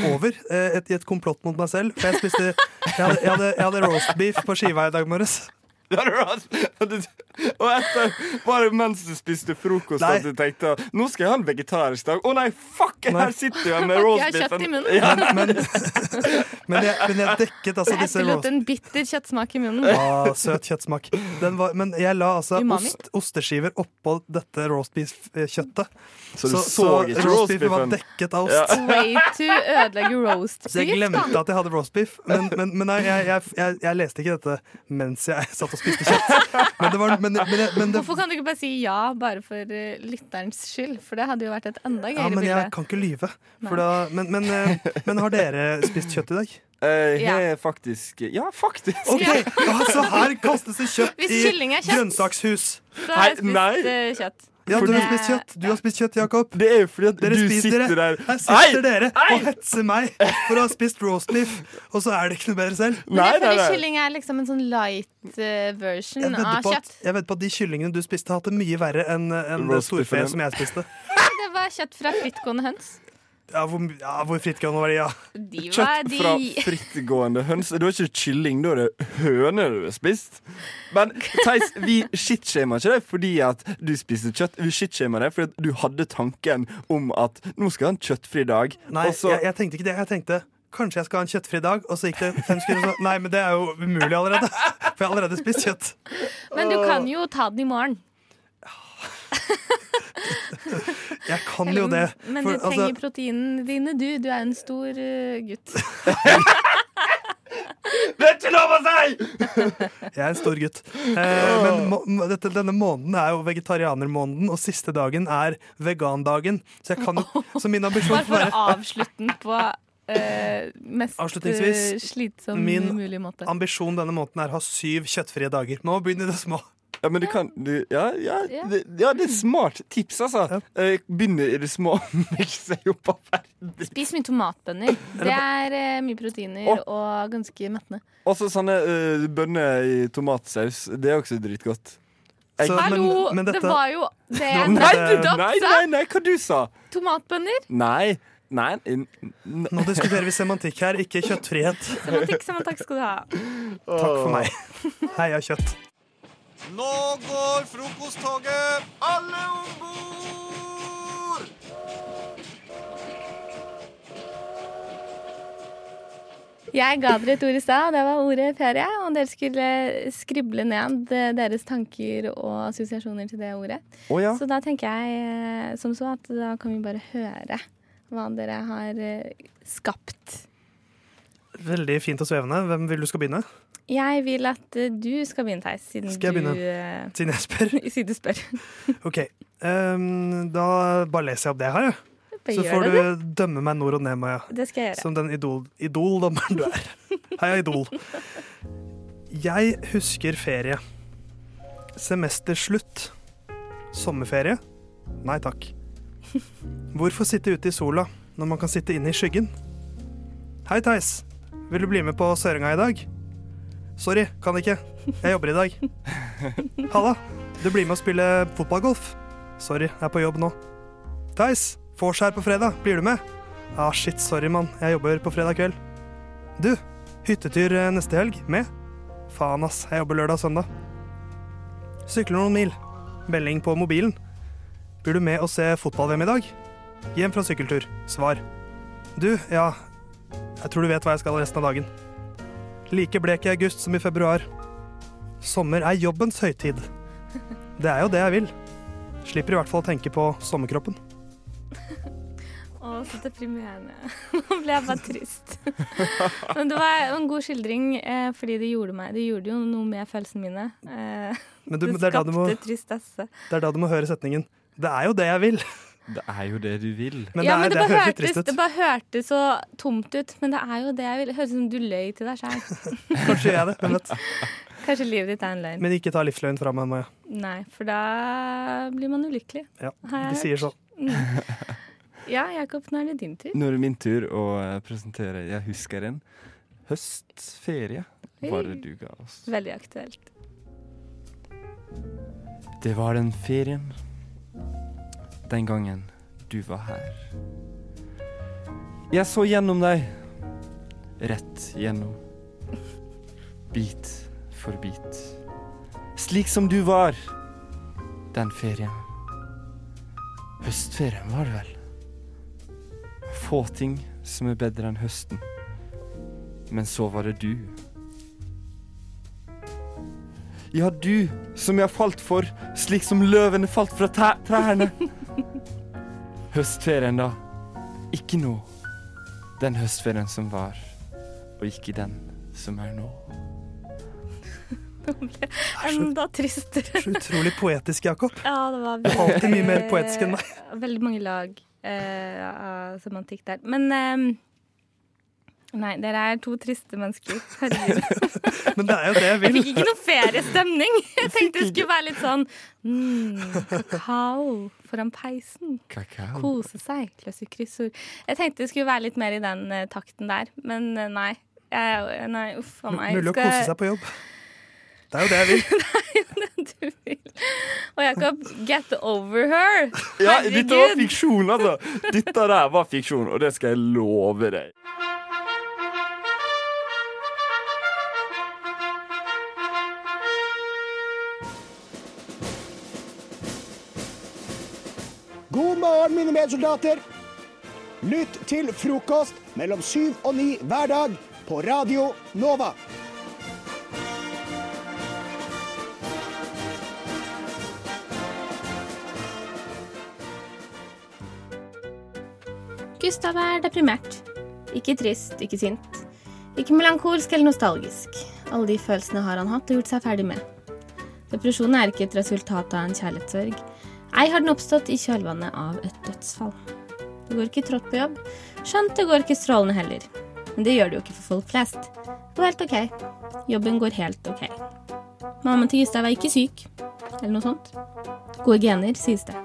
Speaker 4: over eh, et, i et komplott mot meg selv. For jeg spiste Jeg hadde, jeg hadde, jeg hadde roast beef på skiva i dag morges.
Speaker 8: Det hadde du hatt. Du- <laughs> Og etter, var det mens du spiste frokost
Speaker 4: Nei.
Speaker 8: at du tenkte Nå skal jeg ha en vegetarisk dag. Å nei, fuck! Her sitter jeg med
Speaker 9: Fuck, jeg har kjøtt i
Speaker 8: roastbiffen.
Speaker 9: munnen.
Speaker 4: Men, men, <laughs> men, jeg, men jeg dekket <laughs> altså disse
Speaker 9: Etterlot
Speaker 4: roast...
Speaker 9: en bitter kjøttsmak i munnen.
Speaker 4: Ah, søt kjøttsmak. Den var, men jeg la altså
Speaker 9: Umami.
Speaker 4: ost, osteskiver oppå dette eh, roastbeef-kjøttet.
Speaker 8: Så du så, ikke
Speaker 4: roastbeefen var
Speaker 8: roastbiffen?
Speaker 4: dekket av ost.
Speaker 9: Way to ødelegge roast
Speaker 4: Så jeg
Speaker 9: beef,
Speaker 4: glemte
Speaker 9: da.
Speaker 4: at jeg hadde roastbeef. Men, men, men nei, jeg, jeg, jeg, jeg leste ikke dette mens jeg satt og spiste kjøtt. Men det var, men, men, men det,
Speaker 9: Hvorfor kan du ikke bare si ja bare for eh, lytterens skyld? For det hadde jo vært et enda
Speaker 4: ja,
Speaker 9: gøyere
Speaker 4: men jeg
Speaker 9: bilde.
Speaker 4: kan ikke lyve.
Speaker 9: Nei.
Speaker 4: For da, men, men, eh, men har dere spist kjøtt i dag?
Speaker 8: Eh,
Speaker 9: Ja.
Speaker 8: jeg er faktisk Ja, faktisk.
Speaker 4: Ok, ja, Så her kastes det kjøtt
Speaker 9: Hvis kylling
Speaker 4: i
Speaker 9: er kjøtt.
Speaker 4: grønnsakshus.
Speaker 9: Da har jeg
Speaker 8: Nei, nei.
Speaker 9: spist eh, kjøtt.
Speaker 4: Ja, du
Speaker 9: Fordi-
Speaker 4: har spist kjøtt, du har spist kjøtt, Jakob.
Speaker 8: Det er jo fordi at
Speaker 4: Dere
Speaker 8: du
Speaker 4: spiser
Speaker 8: sitter
Speaker 4: dere.
Speaker 8: der
Speaker 4: Her sitter dere og hetser meg for å ha spist roastbeef, og så er det ikke noe bedre selv.
Speaker 9: Men
Speaker 8: Nei,
Speaker 9: jeg
Speaker 8: nei,
Speaker 9: føler
Speaker 8: nei.
Speaker 9: kylling er liksom en sånn light eh, version
Speaker 4: Jeg vedder
Speaker 9: av
Speaker 4: på at,
Speaker 9: kjøtt.
Speaker 4: jeg vedder på at de kyllingene du spiste, hadde det mye verre enn enn det
Speaker 8: Roastbeefen
Speaker 4: storfe
Speaker 8: din.
Speaker 4: som jeg spiste.
Speaker 9: Det var kjøtt fra frittgående høns.
Speaker 4: Ja, hvor, ja, hvor frittgående var de, ja.
Speaker 9: De var
Speaker 8: Kjøtt
Speaker 9: de
Speaker 8: fra frittgående høns. Da er det ikke kylling, da er det høne du har spist. Men Theis, vi shitshamer ikke deg fordi at du spiste kjøtt. Vi shitshamer deg fordi at du hadde tanken om at nå skal jeg ha en kjøttfri dag.
Speaker 4: Nei,
Speaker 8: og så
Speaker 4: jeg, jeg tenkte ikke det. Jeg tenkte kanskje jeg skal ha en kjøttfri dag, og så gikk det fem sekunder, og så Nei, men det er jo umulig allerede. For jeg har allerede spist kjøtt.
Speaker 9: <laughs> Men du kan jo ta den i morgen.
Speaker 4: Jeg kan jo det.
Speaker 9: Men
Speaker 4: For,
Speaker 9: du trenger
Speaker 4: altså,
Speaker 9: proteinene dine, du. Du er en stor eh, gutt.
Speaker 8: Det er ikke lov å si!
Speaker 4: jeg er en stor gutt. Eh, men må, må- dette, denne måneden er jo vegetarianermåneden, og siste dagen er vegandagen. Så jeg kan jo Så min ambisjon
Speaker 9: Bare
Speaker 4: får
Speaker 9: for
Speaker 4: være
Speaker 9: å avslutte den på eh, mest
Speaker 4: Avslutningsvis,
Speaker 9: eh, slitsom
Speaker 4: min
Speaker 9: mulig måte.
Speaker 4: Ambisjonen denne måneden er å ha syv kjøttfrie dager. Nå begynner det små.
Speaker 8: Ja, men du kan du, ja, ja,
Speaker 9: Ja. Mm.
Speaker 8: det, ja, det er smart tips, altså. Eh, Begynne i det små. <laughs> Ikke se opp av verden.
Speaker 9: Spis mye tomatbønner. Det er eh, mye proteiner
Speaker 8: Å.
Speaker 9: og ganske mettende.
Speaker 8: Og så sånne eh, bønner i tomatsaus. Det er også dritgodt. Jeg-
Speaker 4: Så,
Speaker 9: Hallo!
Speaker 4: men
Speaker 9: Det var jo det jeg
Speaker 4: Nei, du-
Speaker 9: nettopp
Speaker 8: Nei,
Speaker 9: sa!
Speaker 8: nei, nei, hva du sa?
Speaker 9: Tomatbønner.
Speaker 8: Nei. Nei, n- n-
Speaker 4: Nå diskuterer vi semantikk her, ikke kjøttfrihet.
Speaker 9: Semantikk, semantikk skal du ha.
Speaker 4: Takk for meg. <laughs> Heia kjøtt.
Speaker 3: Nå går frokosttoget! Alle om bord!
Speaker 9: Jeg ga dere et ord i stad, og det var ordet ferie. Og dere skulle skrible ned eh, deres tanker og assosiasjoner til det ordet.
Speaker 8: Å ja.
Speaker 9: Så da tenker jeg eh, som så at da kan vi bare høre hva dere har eh, skapt.
Speaker 4: Veldig fint og svevende. Hvem vil du skal begynne?
Speaker 9: Jeg vil at eh, du skal begynne, Theis, siden
Speaker 4: Skal jeg
Speaker 9: du
Speaker 4: begynne?
Speaker 9: eh,
Speaker 4: Siden jeg spør.
Speaker 9: <laughs> siden du spør.
Speaker 4: Ok, ehm, Da bare leser jeg opp det her, jeg.
Speaker 9: Bare
Speaker 4: så
Speaker 9: gjør
Speaker 4: får
Speaker 9: det,
Speaker 4: du dømme meg nord og ned, Maja.
Speaker 9: du. Det skal jeg gjøre.
Speaker 4: Som den idol- idol-dommeren du
Speaker 9: <laughs>
Speaker 4: er. Heia Idol. Jeg husker ferie. Semesterslutt. Sommerferie? Nei takk. Hvorfor sitte ute i sola når man kan sitte inne i skyggen? Hei, Theis. Vil du bli med på Sørenga i dag? Sorry, kan ikke. Jeg jobber i dag. Halla. Du blir med og spiller fotballgolf? Sorry, jeg er på jobb nå. Theis, vors her på fredag. Blir du med? Ah, shit, sorry, mann. Jeg jobber på fredag kveld. Du, hyttetur eh, neste helg? Med? Faen, ass. Jeg jobber lørdag og søndag. Sykler noen mil. Melding på mobilen. Blir du med og se fotball-VM i dag? Hjem fra sykkeltur. Svar. Du, ja Jeg tror du vet hva jeg skal resten av dagen. Like blek i august som i februar. Sommer er jobbens høytid. Det er jo det jeg vil. Slipper i hvert fall å tenke på sommerkroppen.
Speaker 9: Å, så deprimerende. <laughs> Nå ble jeg bare trist. <laughs> Men det var en god skildring, eh, fordi det gjorde, meg, det gjorde jo noe med følelsene mine. Eh, <laughs>
Speaker 4: Men du,
Speaker 9: det
Speaker 4: det er da
Speaker 9: skapte
Speaker 4: du må
Speaker 9: tristesse.
Speaker 4: Det er da du må høre setningen. Det er jo det jeg vil.
Speaker 8: Det er jo det du vil.
Speaker 4: Men
Speaker 9: ja,
Speaker 4: det,
Speaker 9: men
Speaker 4: er,
Speaker 9: det,
Speaker 4: det,
Speaker 9: bare
Speaker 4: høres litt
Speaker 9: hørtes,
Speaker 4: trist ut.
Speaker 9: det bare hørtes så tomt ut. Men det er jo det jeg vil. Det høres ut som du løy til deg sjøl.
Speaker 4: <laughs> Kanskje jeg er det. Hvem vet.
Speaker 9: Kanskje livet ditt er en løgn.
Speaker 4: Men ikke ta livsløgn fra meg, Maja.
Speaker 9: Nei, for da blir man ulykkelig.
Speaker 4: Ja,
Speaker 9: Har jeg Mm.
Speaker 4: de sier sånn.
Speaker 9: Ja, Jakob, nå er det din tur.
Speaker 8: Nå er det min tur å eh, presentere Jeg husker en høstferie var det du ga oss.
Speaker 9: Veldig aktuelt.
Speaker 8: Det var den ferien Den gangen du var her Jeg så gjennom deg Rett gjennom Bit for bit slik som du var den ferien. Høstferien var det vel. Få ting som er bedre enn høsten. Men så var det du. Ja, du som jeg falt for, slik som løvene falt fra tæ- trærne. Høstferien, da. Ikke nå. Den høstferien som var, og ikke den som er nå.
Speaker 9: Enda tristere.
Speaker 4: Så utrolig poetisk, Jakob.
Speaker 9: Ja, det var
Speaker 4: Du er alltid mye mer
Speaker 9: veldig-
Speaker 4: poetisk enn meg.
Speaker 9: Veldig mange lag eh, av semantikk der. Men ehm, Nei, dere er to triste mennesker. Herregud.
Speaker 4: <laughs> Men det er jo det jeg
Speaker 9: Jeg
Speaker 4: vil.
Speaker 9: fikk ikke noe feriestemning.
Speaker 4: <laughs>
Speaker 9: Jeg tenkte det skulle være litt sånn mm, kakao foran peisen.
Speaker 8: Kakao.
Speaker 9: Kose seg, løse kryssord. Jeg tenkte det skulle være litt mer i den eh, takten der, men eh, nei. Jeg, eh, nei, uff a meg.
Speaker 4: Mulig å
Speaker 9: Skal-
Speaker 4: kose seg på jobb. Det er jo det jeg vil.
Speaker 9: du vil. Og Jakob, get over her!
Speaker 8: Ja, dette var
Speaker 9: Herregud.
Speaker 8: fiksjon, altså. Dette der var fiksjon, og det skal jeg love deg.
Speaker 10: God morgen, mine medsoldater. Lytt til frokost mellom syv og ni hver dag på Radio Nova.
Speaker 9: Gustav er deprimert. Ikke trist, ikke sint. Ikke melankolsk eller nostalgisk. Alle de følelsene har han hatt og gjort seg ferdig med. Depresjonen er ikke et resultat av en kjærlighetssorg. Ei har den oppstått i kjølvannet av et dødsfall. Det går ikke trått på jobb. Skjønt det går ikke strålende heller. Men det gjør det jo ikke for folk flest. Det var helt ok. Jobben går helt ok. Mammaen til Gustav er ikke syk. Eller noe sånt. Gode gener, sies det.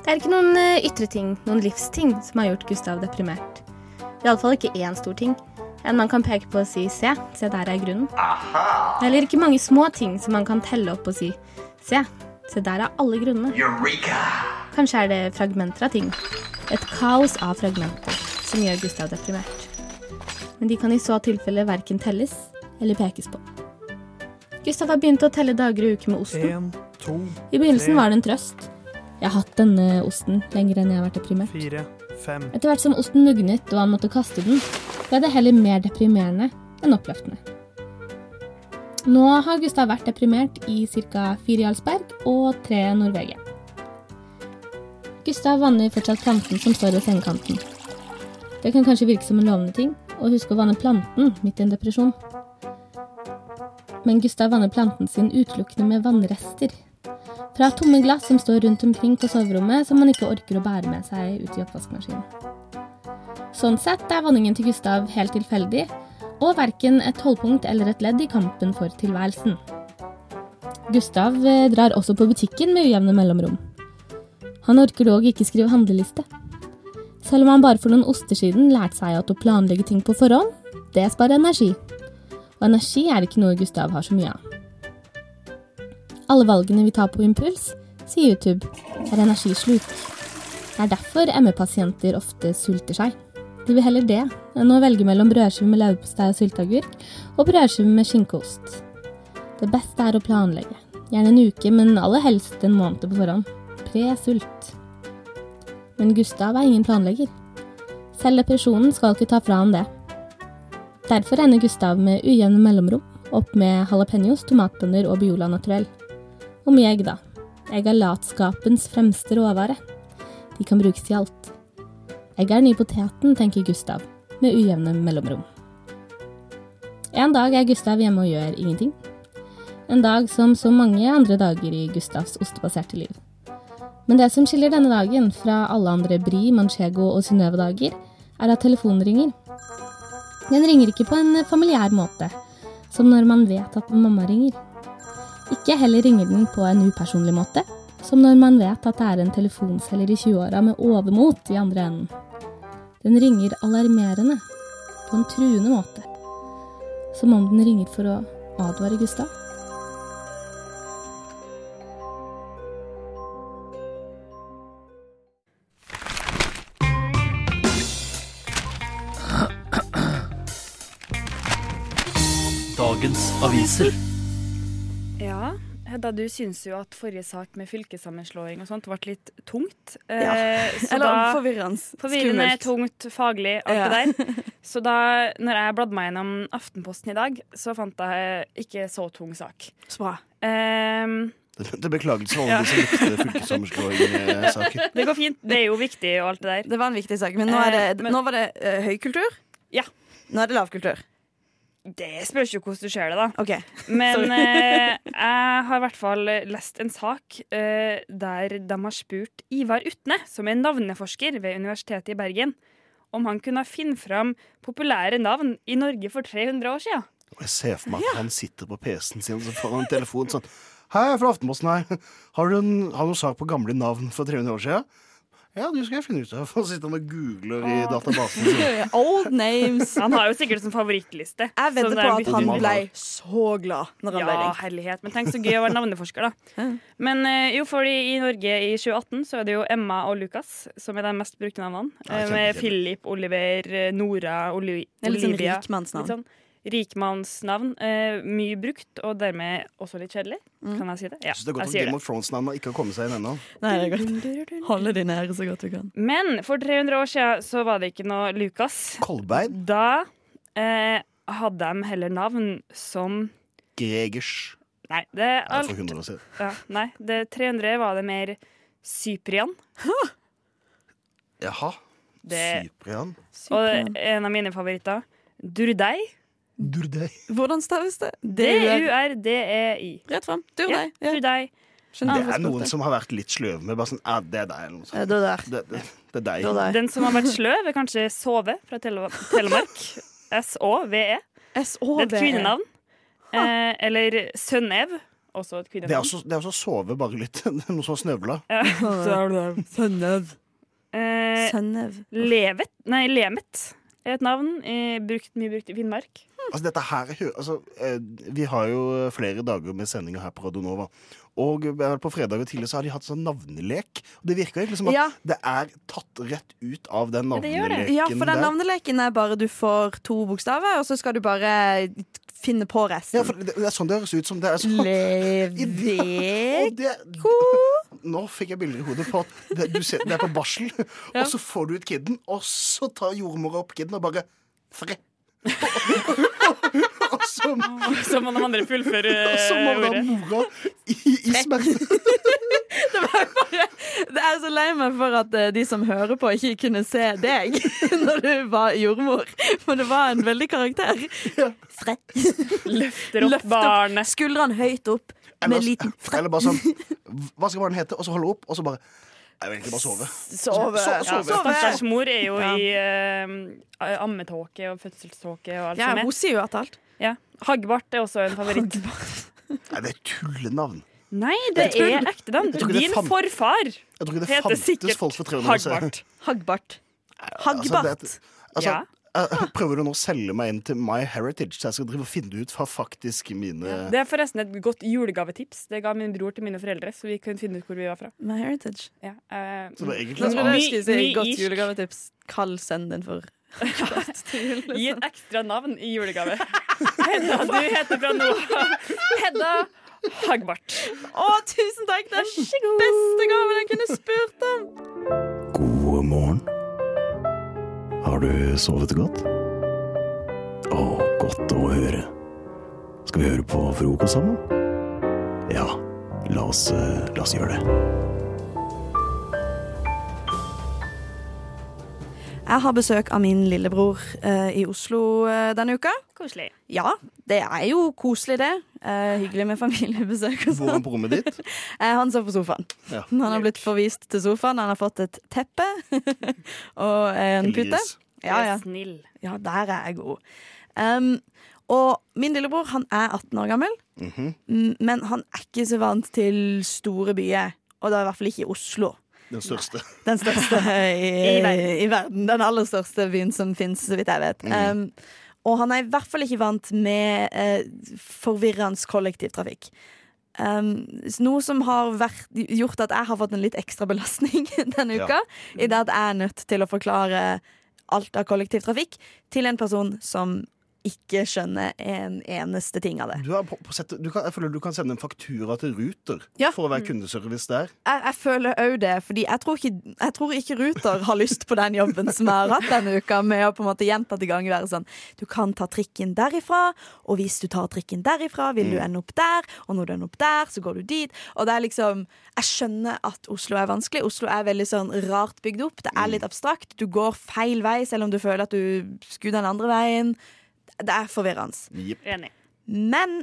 Speaker 9: Det er ikke noen eh, ytre ting, noen livsting, som har gjort Gustav deprimert. Iallfall ikke én stor ting. En man kan peke på og si 'se, se der er grunnen'. Eller ikke mange små ting som man kan telle opp og si 'se, se der er alle grunnene'. Kanskje er det fragmenter av ting. Et kaos av fragmenter som gjør Gustav deprimert. Men de kan i så tilfelle verken telles eller pekes på. Gustav har begynt å telle dager og uker med osten. <laughs>
Speaker 4: En, to,
Speaker 9: I begynnelsen var det en trøst. Jeg har hatt denne osten lenger enn jeg har vært deprimert.
Speaker 4: fire, fem.
Speaker 9: Etter hvert som osten nugnet og han måtte kaste den, ble det heller mer deprimerende enn oppløftende. Nå har Gustav vært deprimert i ca. fire Jarlsberg og tre Norvegia. Gustav vanner fortsatt planten som står ved sengekanten. Det kan kanskje virke som en lovende ting å huske å vanne planten midt i en depresjon. Men Gustav vanner planten sin utelukkende med vannrester. Fra tomme glass som står rundt omkring på soverommet, som han ikke orker å bære med seg ut i oppvaskmaskinen. Sånn sett er vanningen til Gustav helt tilfeldig, og verken et holdpunkt eller et ledd i kampen for tilværelsen. Gustav eh, drar også på butikken med ujevne mellomrom. Han orker dog ikke skrive handleliste. Selv om han bare for noen oster siden lærte seg at å planlegge ting på forhånd, det sparer energi. Og energi er ikke noe Gustav har så mye av. Alle valgene vi tar på impuls, sier YouTube, er energisluk. Det er derfor ME-pasienter ofte sulter seg. De vil heller det enn å velge mellom brødskive med leverpostei og sylteagurk og brødskive med skinkeost. Det beste er å planlegge. Gjerne en uke, men aller helst en måned på forhånd. Pre-sult. Men Gustav er ingen planlegger. Selv depresjonen skal ikke ta fra ham det. Derfor ender Gustav med ujevne mellomrom opp med jalapeños, tomatbønner og Biola naturell. Og mye egg, da. Egg er latskapens fremste råvare. De kan brukes til alt. Egg er den nye poteten, tenker Gustav, med ujevne mellomrom. En dag er Gustav hjemme og gjør ingenting. En dag som så mange andre dager i Gustavs ostebaserte liv. Men det som skiller denne dagen fra alle andre Bri, Manchego og Synnøve-dager, er at telefonen ringer. Den ringer ikke på en familiær måte, som når man vet at mamma ringer. Ikke heller ringer den på en upersonlig måte, som når man vet at det er en telefonselger i 20-åra med overmot i andre enden. Den ringer alarmerende, på en truende måte. Som om den ringer for å advare Gustav.
Speaker 5: Dagens aviser.
Speaker 2: Ja,
Speaker 11: Da du syns jo at forrige sak med fylkessammenslåing og sånt ble litt tungt. eh,
Speaker 12: Ja. <laughs> Eller forvirrende.
Speaker 11: Forvirrende,
Speaker 12: Skummelt.
Speaker 11: tungt, faglig,
Speaker 12: <laughs>
Speaker 11: alt det der. Så da når jeg bladde meg gjennom Aftenposten i dag, så fant jeg ikke så tung sak. Ehm,
Speaker 12: Så bra.
Speaker 13: Til beklagelse for alle de som likte eh,
Speaker 11: <laughs>
Speaker 13: fylkessammenslåing-saken.
Speaker 11: Det går fint. Det er jo viktig og alt det der.
Speaker 12: Det var en viktig sak. Men nå, er
Speaker 11: Eh,
Speaker 12: det,
Speaker 11: men-
Speaker 12: nå var det eh, høykultur.
Speaker 11: Ja.
Speaker 12: Nå er det lavkultur.
Speaker 11: Det spørs jo hvordan du ser det, da.
Speaker 12: Sorry.
Speaker 11: Men eh, jeg har i hvert fall lest en sak eh, der de har spurt Ivar Utne, som er navneforsker ved Universitetet i Bergen, om han kunne finne fram populære navn i Norge for 300 år siden.
Speaker 13: Og jeg ser for meg at han sitter på PC-en sin, og så får han en telefon sånn Hei, jeg er fra Aftenposten her. Har du en, har du noen sak på gamle navn fra 300 år siden? Ja, det skal jeg finne ut av. Og sitter han og googler i databasen sin.
Speaker 12: <laughs> Old names.
Speaker 11: Han har jo sikkert som favorittliste.
Speaker 12: Jeg vedder
Speaker 11: Sånn
Speaker 12: på
Speaker 11: der
Speaker 12: at han
Speaker 11: bytte-
Speaker 12: ble så glad når han ble
Speaker 11: Ja,
Speaker 12: ringt.
Speaker 11: herlighet. Men tenk så gøy å være navneforsker, da. Men eh, jo, fordi i Norge i 2018 så er det jo Emma og Lukas som er de mest brukte navnene.
Speaker 12: Ja,
Speaker 11: Eh,
Speaker 12: kjempe,
Speaker 11: med
Speaker 12: kjempe.
Speaker 11: Philip, Oliver, eh, Nora, Oli
Speaker 12: Det er litt sånn
Speaker 11: Olivia.
Speaker 12: rikmannsnavn.
Speaker 11: Litt sånn rikmannsnavn. Eh, mye brukt, og dermed også litt kjedelig.
Speaker 12: Mm.
Speaker 11: Kan jeg si det? Ja,
Speaker 13: Jeg synes det er
Speaker 11: jeg
Speaker 13: godt at
Speaker 11: sier
Speaker 13: Game
Speaker 11: det.
Speaker 13: of Thrones-navnet ikke har kommet seg inn ennå.
Speaker 12: <laughs> Nei, det er godt. Holde de nære så godt du kan.
Speaker 11: Men for 300 år siden så var det ikke noe Lukas.
Speaker 13: Kolbein?
Speaker 11: Da eh, hadde de heller navn som
Speaker 13: Gregers.
Speaker 11: Nei, det er
Speaker 13: Nei,
Speaker 11: alt
Speaker 13: for 100 år siden.
Speaker 11: Ja, nei, det 300 var det mer Cyprian.
Speaker 13: Jaha.
Speaker 11: Det-
Speaker 13: Cyprian.
Speaker 11: Og en av mine favoritter. Durdei.
Speaker 13: Durdei.
Speaker 12: Hvordan staves det?
Speaker 11: D-u-r-d-e-i.
Speaker 12: Rett fram. Durdei.
Speaker 11: E Ja, Durdei.
Speaker 13: Det er noen som har vært litt sløve med bare sånn Ja, det er deg, eller noe sånt.
Speaker 11: Ja, det er
Speaker 13: Det, det, det er deg.
Speaker 11: Den som har vært sløv, er kanskje Sove fra Tele Telemark.
Speaker 12: <laughs>
Speaker 11: S-å-v-e.
Speaker 12: E.
Speaker 11: Det er et kvinnenavn. Eh, eller Sønnev. Også et
Speaker 13: Det er
Speaker 11: kvinnenavn.
Speaker 13: også, det er også sove, bare litt. <laughs> Noen som har snøvla.
Speaker 11: Ja.
Speaker 12: Sønnev.
Speaker 11: Eh,
Speaker 12: Sønnev.
Speaker 11: Levet Nei, Lemet er et navn. Eh, brukt, mye brukt i Finnmark.
Speaker 13: Altså, dette her hø- altså, eh, Vi har jo flere dager med sendinger her på Radio Nova. Og eh, på fredager tidlig så har de hatt sånn navnelek. Og det virker egentlig som at
Speaker 12: Ja.
Speaker 13: det er tatt rett ut av den
Speaker 12: Ja, det gjør det.
Speaker 13: navneleken
Speaker 12: Ja, for den navneleken er bare du får to bokstaver, og så skal du bare finne på resten.
Speaker 13: Ja, for det, det er sånn det høres ut som det er sånn. <laughs> Og det, nå fikk jeg bilder i hodet på at det, du ser, det er på barsel, <laughs> og så får du ut kiden, og så tar jordmora opp kiden og bare Fre. <laughs> og så
Speaker 11: Så må de andre fullføre eh,
Speaker 13: <laughs> Og så må da
Speaker 11: ordet.
Speaker 13: mora i, i smerte
Speaker 12: <laughs> Det er så lei meg for at eh, de som hører på, ikke kunne se deg <laughs> når du var jordmor. For det var en veldig karakter. Fre.
Speaker 11: Løfter opp barnet.
Speaker 12: Skuldrene høyt opp. Med
Speaker 13: Ellers-
Speaker 12: liten
Speaker 13: Eller bare sånn
Speaker 12: <laughs>
Speaker 13: Hva skal barnet hete? Og så holde opp, og så bare Jeg vil egentlig bare sove.
Speaker 12: Sove.
Speaker 13: So-
Speaker 11: Ja,
Speaker 13: sove.
Speaker 11: Stakkars mor er jo
Speaker 12: Ja.
Speaker 11: i eh, ammetåke og fødselståke og alt
Speaker 12: Ja,
Speaker 11: som er.
Speaker 12: hun sier jo at alt.
Speaker 11: Ja. Hagbart er også en favoritt.
Speaker 13: Nei, det er tullenavn.
Speaker 11: Sånn. Nei, det
Speaker 13: Jeg tror-
Speaker 11: er ekte navn.
Speaker 13: jeg tror ikke det
Speaker 11: Din
Speaker 13: fant-
Speaker 11: forfar
Speaker 13: Jeg tror ikke det
Speaker 11: heter
Speaker 13: fantes
Speaker 11: sikkert
Speaker 13: folk for 300 år siden.
Speaker 11: Hagbart.
Speaker 12: Hagbart.
Speaker 13: Altså, det er et- altså,
Speaker 11: Ja.
Speaker 13: eh, Prøver du nå å selge meg inn til My Heritage, så jeg skal drive og finne ut hva faktisk mine
Speaker 11: Det er forresten et godt julegavetips. Det ga min bror til mine foreldre, så vi kunne finne ut hvor vi var fra.
Speaker 12: My heritage.
Speaker 11: Ja, eh,
Speaker 13: Så det er egentlig-
Speaker 12: Nå trodde jeg jeg skulle si
Speaker 11: Ny- ny
Speaker 12: godt
Speaker 11: irsk.
Speaker 12: julegavetips. Kall sønnen din for liksom.
Speaker 11: Gi et ekstra navn i
Speaker 12: <laughs>
Speaker 11: julegave. Hedda, du heter fra nå av Hedda Hagbart.
Speaker 12: Å, tusen takk! Det er den beste gaven jeg kunne spurt om!
Speaker 13: God morgen. Har du sovet godt? Å, godt å høre. Skal vi høre på frokost sammen? Ja, la oss, eh, la oss gjøre det.
Speaker 12: Jeg har besøk av min lillebror eh, i Oslo eh, denne uka.
Speaker 11: Koselig.
Speaker 12: Ja, det er jo koselig, det. Eh, hyggelig med <laughs> familiebesøk og
Speaker 13: Bor han
Speaker 12: sånn.
Speaker 13: på rommet ditt?
Speaker 12: Eh, han sover på sofaen.
Speaker 11: <laughs>
Speaker 13: Ja.
Speaker 12: Han har blitt forvist til sofaen. Han har fått et teppe <laughs> og en pute.
Speaker 11: Elias.
Speaker 12: Ja,
Speaker 11: Du
Speaker 12: ja.
Speaker 11: er snill.
Speaker 12: ja, der er jeg god. Um, og min lillebror han er 18 år gammel,
Speaker 13: Mhm.
Speaker 12: mm, men han er ikke så vant til store byer. Og da i hvert fall ikke i Oslo.
Speaker 13: Den største.
Speaker 12: Den største i,
Speaker 13: I
Speaker 12: i,
Speaker 13: verden.
Speaker 12: verden. Den aller største byen som fins, så vidt jeg vet.
Speaker 13: Mm.
Speaker 12: Um, og han er i hvert fall ikke vant med eh, forvirrende kollektivtrafikk. Um, s- noe som har vært, gjort at jeg har fått en litt ekstra belastning <laughs> denne
Speaker 11: Ja.
Speaker 12: uka. I det at jeg er nødt til å forklare alt av kollektivtrafikk til en person som ikke skjønner en eneste ting av det.
Speaker 13: Du er på, på sett, du kan, jeg føler du kan sende en faktura til Ruter for
Speaker 11: Mm.
Speaker 13: å være kundeservice der.
Speaker 12: Jeg, jeg føler òg det, fordi jeg tror, ikke, jeg tror ikke Ruter har lyst på den jobben som jeg har hatt denne uka, med å på en måte gjentatte ganger være sånn Du kan ta trikken derifra, og hvis du tar trikken derifra, vil du
Speaker 14: Mm.
Speaker 12: ende opp der, og når du ender opp der, så går du dit. Og det er liksom Jeg skjønner at Oslo er vanskelig. Oslo er veldig sånn rart bygd opp. Det er litt abstrakt. Du går feil vei, selv om du føler at du skulle den andre veien. Det er forvirrende.
Speaker 11: Enig.
Speaker 12: Men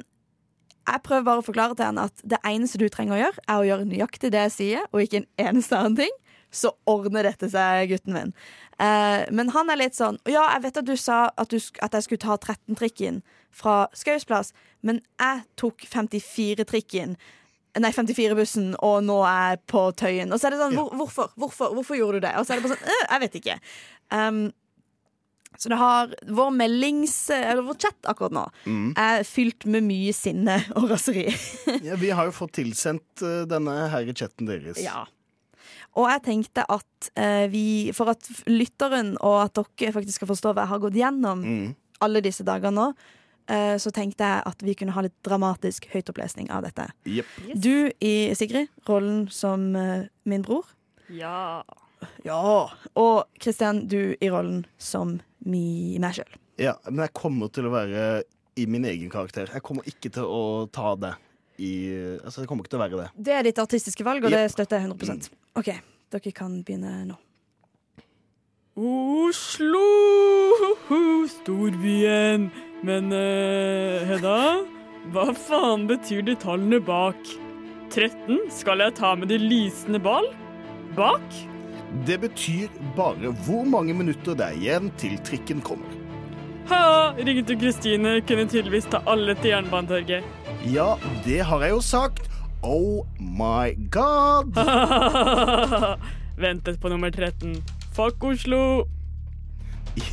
Speaker 12: jeg prøver bare å forklare til henne at det eneste du trenger å gjøre, er å gjøre nøyaktig det jeg sier, og ikke en eneste annen ting. Så ordner dette seg, gutten min. Eh, men han er litt sånn Ja, jeg vet at du sa at, du, sk- at jeg skulle ta 13-trikken fra Skaus plass, men jeg tok 54-trikken. Nei, 54-bussen, og nå er jeg på Tøyen. Og så er det sånn, hvor, hvorfor? hvorfor? Hvorfor gjorde du det? Og så er det bare sånn, «Øh, jeg vet ikke. Um, så det har vår meldings Eller vår chat akkurat nå
Speaker 13: Mm.
Speaker 12: er fylt med mye sinne og raseri.
Speaker 13: <laughs> Ja, vi har jo fått tilsendt eh, denne her i chatten deres.
Speaker 12: <laughs> Ja. Og jeg tenkte at eh, vi For at lytteren og at dere faktisk skal forstå hva jeg har gått gjennom
Speaker 13: Mm.
Speaker 12: alle disse dagene nå, eh, så tenkte jeg at vi kunne ha litt dramatisk høytopplesning av dette. Du i Sigrid, rollen som eh, min bror.
Speaker 11: Ja.
Speaker 12: Ja. Og Kristian, du i rollen som mi, meg sjøl.
Speaker 13: Ja, men jeg kommer til å være i min egen karakter. Jeg kommer ikke til å ta det i Altså, jeg kommer ikke til å være det.
Speaker 12: Det er ditt artistiske valg, og det
Speaker 13: Jepp.
Speaker 12: støtter jeg 100 Mm. OK, dere kan begynne nå.
Speaker 14: Oslo, storbyen. Men eh, Hedda, hva faen betyr de tallene bak? 13? Skal jeg ta med de lysende ball? Bak?
Speaker 13: Det betyr bare hvor mange minutter det er igjen til trikken kommer.
Speaker 14: Ha, ringte Kristine, kunne tydeligvis ta alle til Jernbanetorget. <laughs>
Speaker 13: Ja, det har jeg jo sagt. Oh my god!
Speaker 14: Ventet på nummer 13. Fuck Oslo!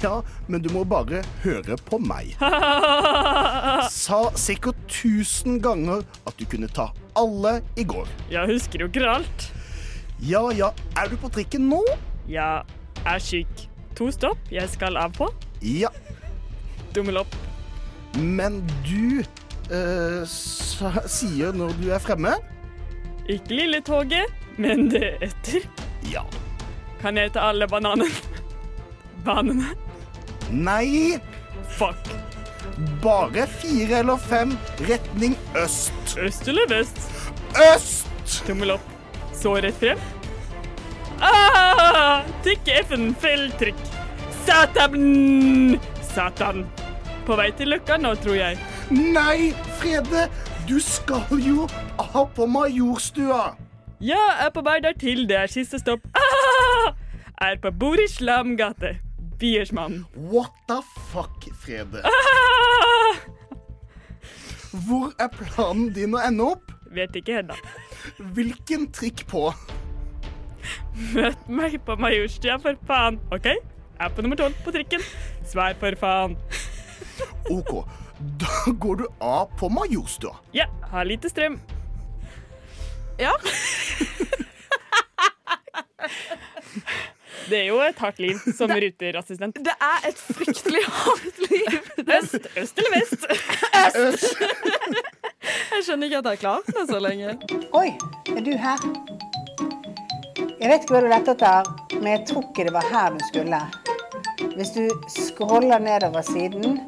Speaker 13: Ja, men du må bare høre på meg. Sa sikkert tusen ganger at du kunne ta alle i går.
Speaker 14: Jeg husker jo ikke alt.
Speaker 13: Ja, ja. Er du på trikken nå?
Speaker 14: Ja, er syk. To stopp jeg skal av på.
Speaker 13: Ja.
Speaker 14: Dummel opp.
Speaker 13: Men du eh, sa- sier når du er fremme
Speaker 14: Ikke lille toget, men det etter.
Speaker 13: Ja.
Speaker 14: Kan jeg ta alle bananene? Banene?
Speaker 13: Nei.
Speaker 14: Fuck.
Speaker 13: Bare fire eller fem retning øst.
Speaker 14: Øst eller vest?
Speaker 13: Øst!
Speaker 14: Tommel opp. Så rett frem. Ah! Tikk FN, feiltrykk. Satan! Satan. På vei til Løkka nå, tror jeg.
Speaker 13: Nei, Frede! Du skal jo av på Majorstua!
Speaker 14: Ja, er på vei dertil. Det er siste stopp. Ah! Er på Boris Lam gate. Biersmann.
Speaker 13: What the fuck, Frede?
Speaker 14: <laughs> Ah!
Speaker 13: Hvor er planen din å ende opp?
Speaker 14: Vet ikke ennå.
Speaker 13: Hvilken trikk på?
Speaker 14: Møt meg på Majorstua, for faen. OK? Er på nummer tolv på trikken. Svar, for faen.
Speaker 13: OK, da går du av på Majorstua.
Speaker 14: Ja, har lite strøm.
Speaker 12: Ja.
Speaker 14: Det er jo et hardt liv som ruterassistent.
Speaker 12: Det er et fryktelig hardt liv.
Speaker 14: Øst, øst eller vest?
Speaker 12: Øst. Jeg skjønner ikke at jeg har klart meg så lenge.
Speaker 15: Oi, er du her? Jeg vet ikke hva du lette etter, men jeg tror ikke det var her du skulle. Hvis du scroller nedover siden,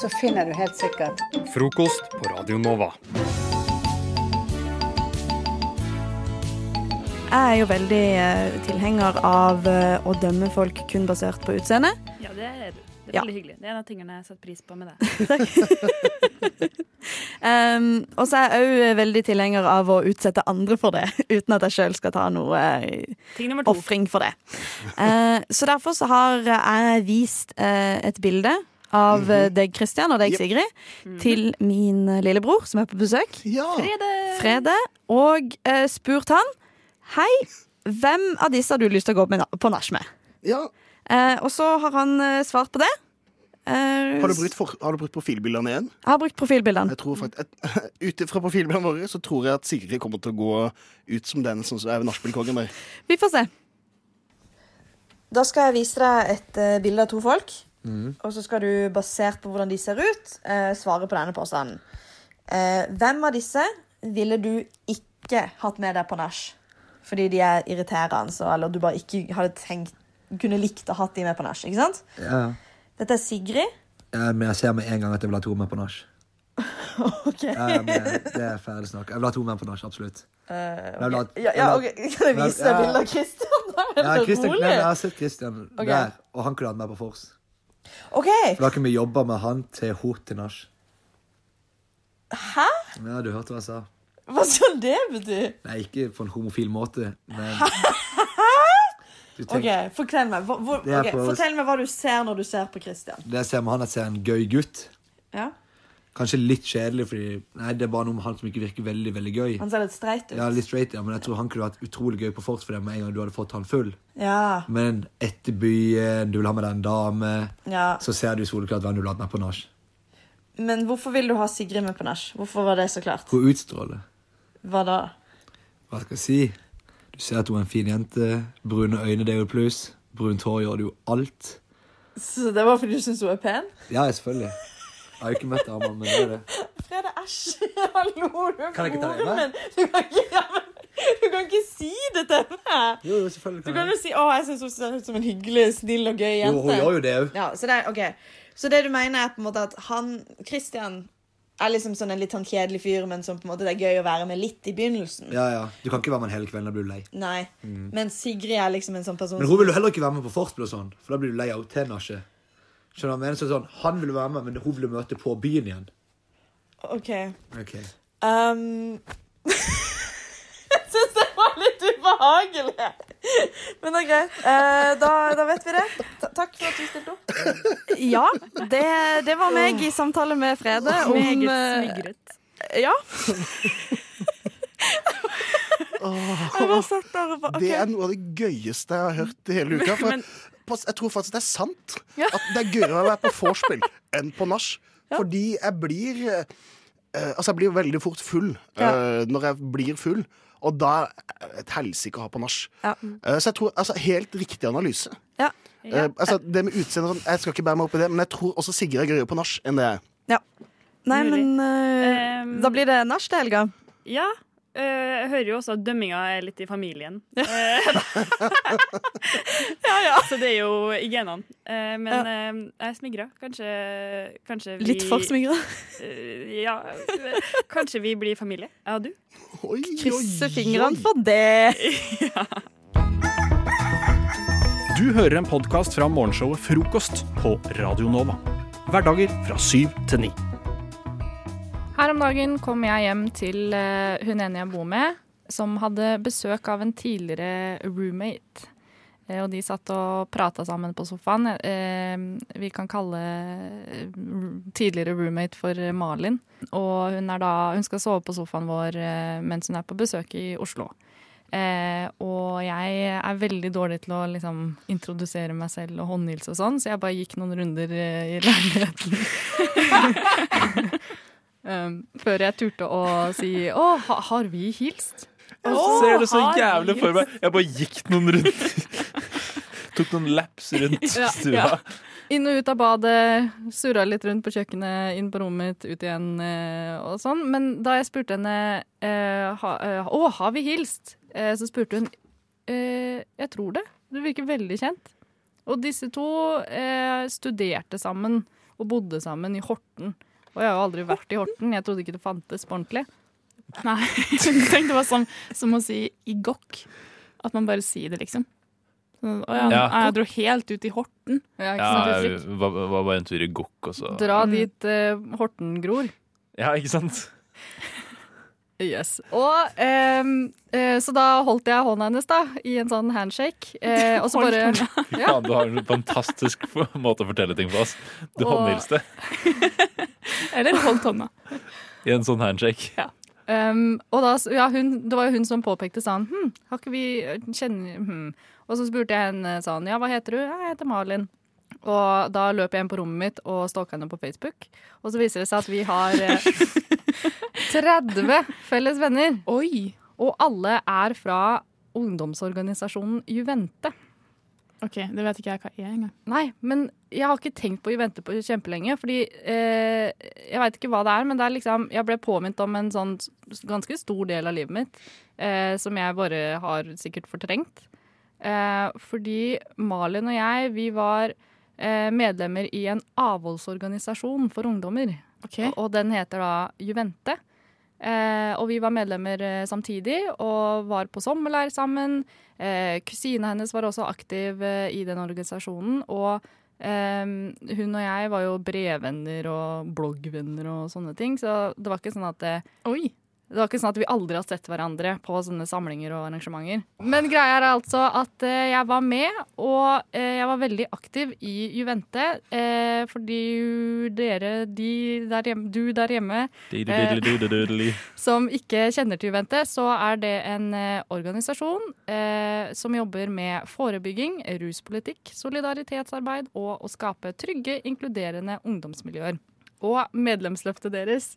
Speaker 15: så finner du helt sikkert
Speaker 16: Frokost på Radio Nova.
Speaker 12: Jeg er jo veldig eh, tilhenger av eh, å dømme folk kun basert på utseende.
Speaker 11: Ja, det er, det er
Speaker 12: Ja.
Speaker 11: veldig hyggelig. Det er en av tingene jeg setter pris på med deg.
Speaker 12: <laughs> Um, og så er jeg òg veldig tilhenger av å utsette andre for det, <laughs> uten at jeg sjøl skal ta noe
Speaker 11: Ting nummer to.
Speaker 12: ofring for det. Eh, så derfor så har jeg vist eh, et bilde av eh,
Speaker 13: Mhm.
Speaker 12: deg, Kristian, og deg,
Speaker 14: Jep.
Speaker 12: Sigrid,
Speaker 11: Mhm.
Speaker 12: til min eh, lillebror som er på besøk.
Speaker 11: Frede!
Speaker 12: Frede. Og eh, spurt han Hei, hvem av disse har du lyst til å gå med, na- på nach med? Eh, og så har han eh, svart på det. Eh,
Speaker 13: Har du brukt, for, har du brukt profilbildene igjen?
Speaker 12: Jeg har brukt profilbildene.
Speaker 13: Jeg tror faktisk, Eh, Ut fra profilbildene våre så tror jeg at Sigrid kommer til å gå ut som den som er nachspielkongen der.
Speaker 12: Vi får se. Da skal jeg vise deg et eh, bilde av to folk.
Speaker 16: Mm.
Speaker 12: Og så skal du, basert på hvordan de ser ut, eh, svare på denne påstanden. Eh, hvem av disse ville du ikke hatt med deg på nach? Fordi de er irriterende, så, eller du bare ikke hadde tenkt, kunne likt å ha hatt de med på nach. ikke sant?
Speaker 16: Ja.
Speaker 12: Dette er
Speaker 16: <laughs>
Speaker 12: Sigrid.
Speaker 16: Eh, Men jeg ser med en gang at jeg vil ha to menn på nach.
Speaker 12: Ok.
Speaker 16: Eh, men Det er ferdig snakk. Jeg vil ha to menn på nach, absolutt.
Speaker 12: Eh,
Speaker 16: Jeg vil ha-
Speaker 12: ok. Ja, ja, ok. Kan jeg vise deg
Speaker 16: Ja.
Speaker 12: bildet av Christian? Da er
Speaker 16: Ja,
Speaker 12: det
Speaker 16: Christian,
Speaker 12: rolig.
Speaker 16: nei, men altså- jeg har sett Christian
Speaker 12: Ok.
Speaker 16: der, og han kunne hatt meg på Force.
Speaker 12: OK.
Speaker 16: For da kunne vi jobba med han til hot til nach.
Speaker 12: Hæ?
Speaker 16: Ja, du hørte hva jeg sa.
Speaker 12: Hva skal det bety?
Speaker 16: Nei, ikke på en homofil måte, men du
Speaker 12: Ok,
Speaker 16: tenker,
Speaker 12: fortell meg. Hvor, hvor,
Speaker 16: Det er
Speaker 12: ok,
Speaker 16: på-
Speaker 12: fortell meg hva du ser når du ser på Christian.
Speaker 16: Det jeg ser med han, er at jeg ser en gøy gutt.
Speaker 12: Ja?
Speaker 16: Kanskje litt kjedelig, fordi Nei, det er bare noe med han som ikke virker veldig, veldig gøy.
Speaker 12: Han ser litt streit ut.
Speaker 16: Ja, litt straight, ja, men jeg tror han kunne vært utrolig gøy på Force for deg med en gang du hadde fått han full.
Speaker 12: Ja.
Speaker 16: Men etter byen, du vil ha med deg en dame,
Speaker 12: Ja.
Speaker 16: så ser du soleklart hvem du vil ha med på nach.
Speaker 12: Men hvorfor vil du ha Sigrid med på nach? Hvorfor var det så klart?
Speaker 16: Hun utstråler.
Speaker 12: Hva da?
Speaker 16: Hva skal jeg si? Du ser at hun er en fin jente. Brune øyne, det er jo et pluss. Brunt hår gjør det jo alt.
Speaker 12: Så det var fordi du syntes hun er pen?
Speaker 16: Ja, selvfølgelig. Jeg har jo ikke møtt Arman, men det er det.
Speaker 12: Frede, æsj! <laughs> Hallo, du er
Speaker 16: Kan jeg ikke ta det
Speaker 12: broren
Speaker 16: med?
Speaker 12: min! Du kan ikke, ja, men, du kan ikke si det til meg!
Speaker 16: Jo, jo, selvfølgelig
Speaker 12: Du kan jo si 'Å, jeg syns hun ser ut som en hyggelig, snill og gøy jente'.
Speaker 16: Jo, hun gjør jo det òg.
Speaker 12: Ja, så, det, er- ok. så det du mener, er på en måte at han Christian er liksom sånn en litt sånn kjedelig fyr, men som på en måte det er gøy å være med litt i begynnelsen?
Speaker 16: Ja, ja. Du kan ikke være med en hele kvelden, da blir du lei.
Speaker 12: Nei.
Speaker 16: Mm.
Speaker 12: Men Sigrid er liksom en sånn person
Speaker 16: Men hun vil jo heller ikke være med på Forspill og sånn, for da blir du lei av til nachet. Skjønner du hva jeg mener? Så sånn, Han vil være med, men hun vil møte på byen igjen.
Speaker 12: OK.
Speaker 16: Ok.
Speaker 12: Um... <laughs> jeg syns det var litt ubehagelig. Men det er greit. Eh, da, da vet vi det. Ta- takk for at du stilte opp.
Speaker 14: Ja, det, det var meg i samtale med Frede om
Speaker 11: Meget
Speaker 14: eh,
Speaker 11: smigret.
Speaker 14: Ja.
Speaker 13: Det er noe av det gøyeste jeg har hørt i hele uka. For
Speaker 11: Men-
Speaker 13: på- jeg tror faktisk det er sant. At det er gøyere å være på vorspiel enn på nach. Fordi jeg blir eh, eh, Altså, jeg blir veldig fort full eh, når jeg blir full. Og da er det et helsike å ha på nach.
Speaker 14: Ja.
Speaker 13: Eh, så jeg tror altså, Helt riktig analyse.
Speaker 14: Ja.
Speaker 13: Eh, altså, det med utseendet og sånn, jeg skal ikke bære meg opp i det, men jeg tror også Sigrid er gøyere på nach enn det jeg er.
Speaker 14: Nei, men eh, da blir det nach til helga.
Speaker 11: Ja. eh, jeg hører jo også at dømminga er litt i
Speaker 14: <laughs>
Speaker 11: familien. Eh, Så det er jo i genene. Eh, men eh, jeg er smigra. Kanskje, kanskje vi
Speaker 14: Litt for smigra.
Speaker 11: Eh, ja. eh, Kanskje vi blir familie, jeg og du.
Speaker 14: Krysser fingrene for det.
Speaker 1: Du hører en podkast fra morgenshowet Frokost på Radio Nova. Hverdager fra syv til ni.
Speaker 17: Her om dagen kom jeg hjem til eh, hun ene jeg bor med, som hadde besøk av en tidligere roommate. Eh, Og de satt og prata sammen på sofaen. Eh, Vi kan kalle eh, r- tidligere roommate for Malin. Og hun, er da, hun skal sove på sofaen vår eh, mens hun er på besøk i Oslo. Eh, og jeg er veldig dårlig til å liksom, introdusere meg selv og håndhilse og sånn, så jeg bare gikk noen runder eh, i leiligheten. <laughs> um, før jeg turte å si 'Å, ha, har vi hilst?'
Speaker 18: Jeg
Speaker 17: «Å,
Speaker 18: ser det så
Speaker 17: har vi
Speaker 18: jævlig for meg.
Speaker 17: hilst?»
Speaker 18: Jeg bare gikk noen runder. <laughs> Tok noen laps rundt
Speaker 17: <laughs> Ja,
Speaker 18: stua.
Speaker 17: ja. Inn og ut av badet, surra litt rundt på kjøkkenet, inn på rommet mitt, ut igjen eh, og sånn. Men da jeg spurte henne eh, ha, eh, 'Å, har vi hilst?', eh, så spurte hun eh, 'Jeg tror det. Du virker veldig kjent'. Og disse to eh, studerte sammen og bodde sammen i Horten. Og jeg har jo aldri vært i Horten. Jeg trodde ikke det fantes på ordentlig. Nei, <laughs> Tenk, det var sånn. som, som å si i gokk. At man bare sier det, liksom. Sånn, Å ja,
Speaker 19: Ja.
Speaker 17: jeg dro helt ut i Horten. Ja, ikke sant?
Speaker 19: Ja,
Speaker 17: Det er
Speaker 19: jeg
Speaker 17: frykt.
Speaker 19: var, var bare en tur i gokk, og så
Speaker 17: Dra dit eh, Horten gror.
Speaker 19: Ja, ikke sant?
Speaker 17: Yes. Og ehm, eh, Så da holdt jeg hånda hennes da, i en sånn handshake. eh, og så
Speaker 19: Holdt
Speaker 17: bare
Speaker 19: Ja. du har en fantastisk <laughs> måte å fortelle ting på oss. Du
Speaker 17: Og-
Speaker 19: håndhilste
Speaker 17: Eller holdt hånda.
Speaker 19: i en sånn handshake.
Speaker 17: Ehm, og da, s- ja, hun, det var jo hun som påpekte sånn hm, har ikke vi kjenner, hm. Og så spurte jeg henne sånn ja, hva heter du? Ja, jeg heter Malin. Og da løp jeg inn på rommet mitt og stalka henne på Facebook. Og så viser det seg at vi har eh,
Speaker 20: <laughs>
Speaker 17: 30 felles venner. Og alle er fra ungdomsorganisasjonen Juvente.
Speaker 20: Ok, Det vet ikke jeg hva er engang.
Speaker 17: Nei, men jeg har ikke tenkt på å vente på kjempelenge. Fordi eh, jeg veit ikke hva det er, men det er liksom Jeg ble påminnet om en sånn s- ganske stor del av livet mitt eh, som jeg bare har sikkert fortrengt. Eh, fordi Malin og jeg, vi var eh, medlemmer i en avholdsorganisasjon for ungdommer. Og, og den heter da Juvente. Eh, og vi var medlemmer eh, samtidig og var på sommerleir sammen. Eh, kusina hennes var også aktiv eh, i den organisasjonen. Og eh, hun og jeg var jo brevvenner og bloggvenner og sånne ting, så det var ikke sånn at eh, Det var ikke sånn at vi aldri har sett hverandre på sånne samlinger og arrangementer. Men greia er altså at eh, jeg var med, og eh, jeg var veldig aktiv i Juvente. Eh, fordi dere, de der hjemme, du der hjemme eh,
Speaker 19: Diddle-diddle-diddle-diddle.
Speaker 17: som ikke kjenner til Juvente, så er det en eh, organisasjon eh, som jobber med forebygging, ruspolitikk, solidaritetsarbeid og å skape trygge, inkluderende ungdomsmiljøer. Og medlemsløftet deres,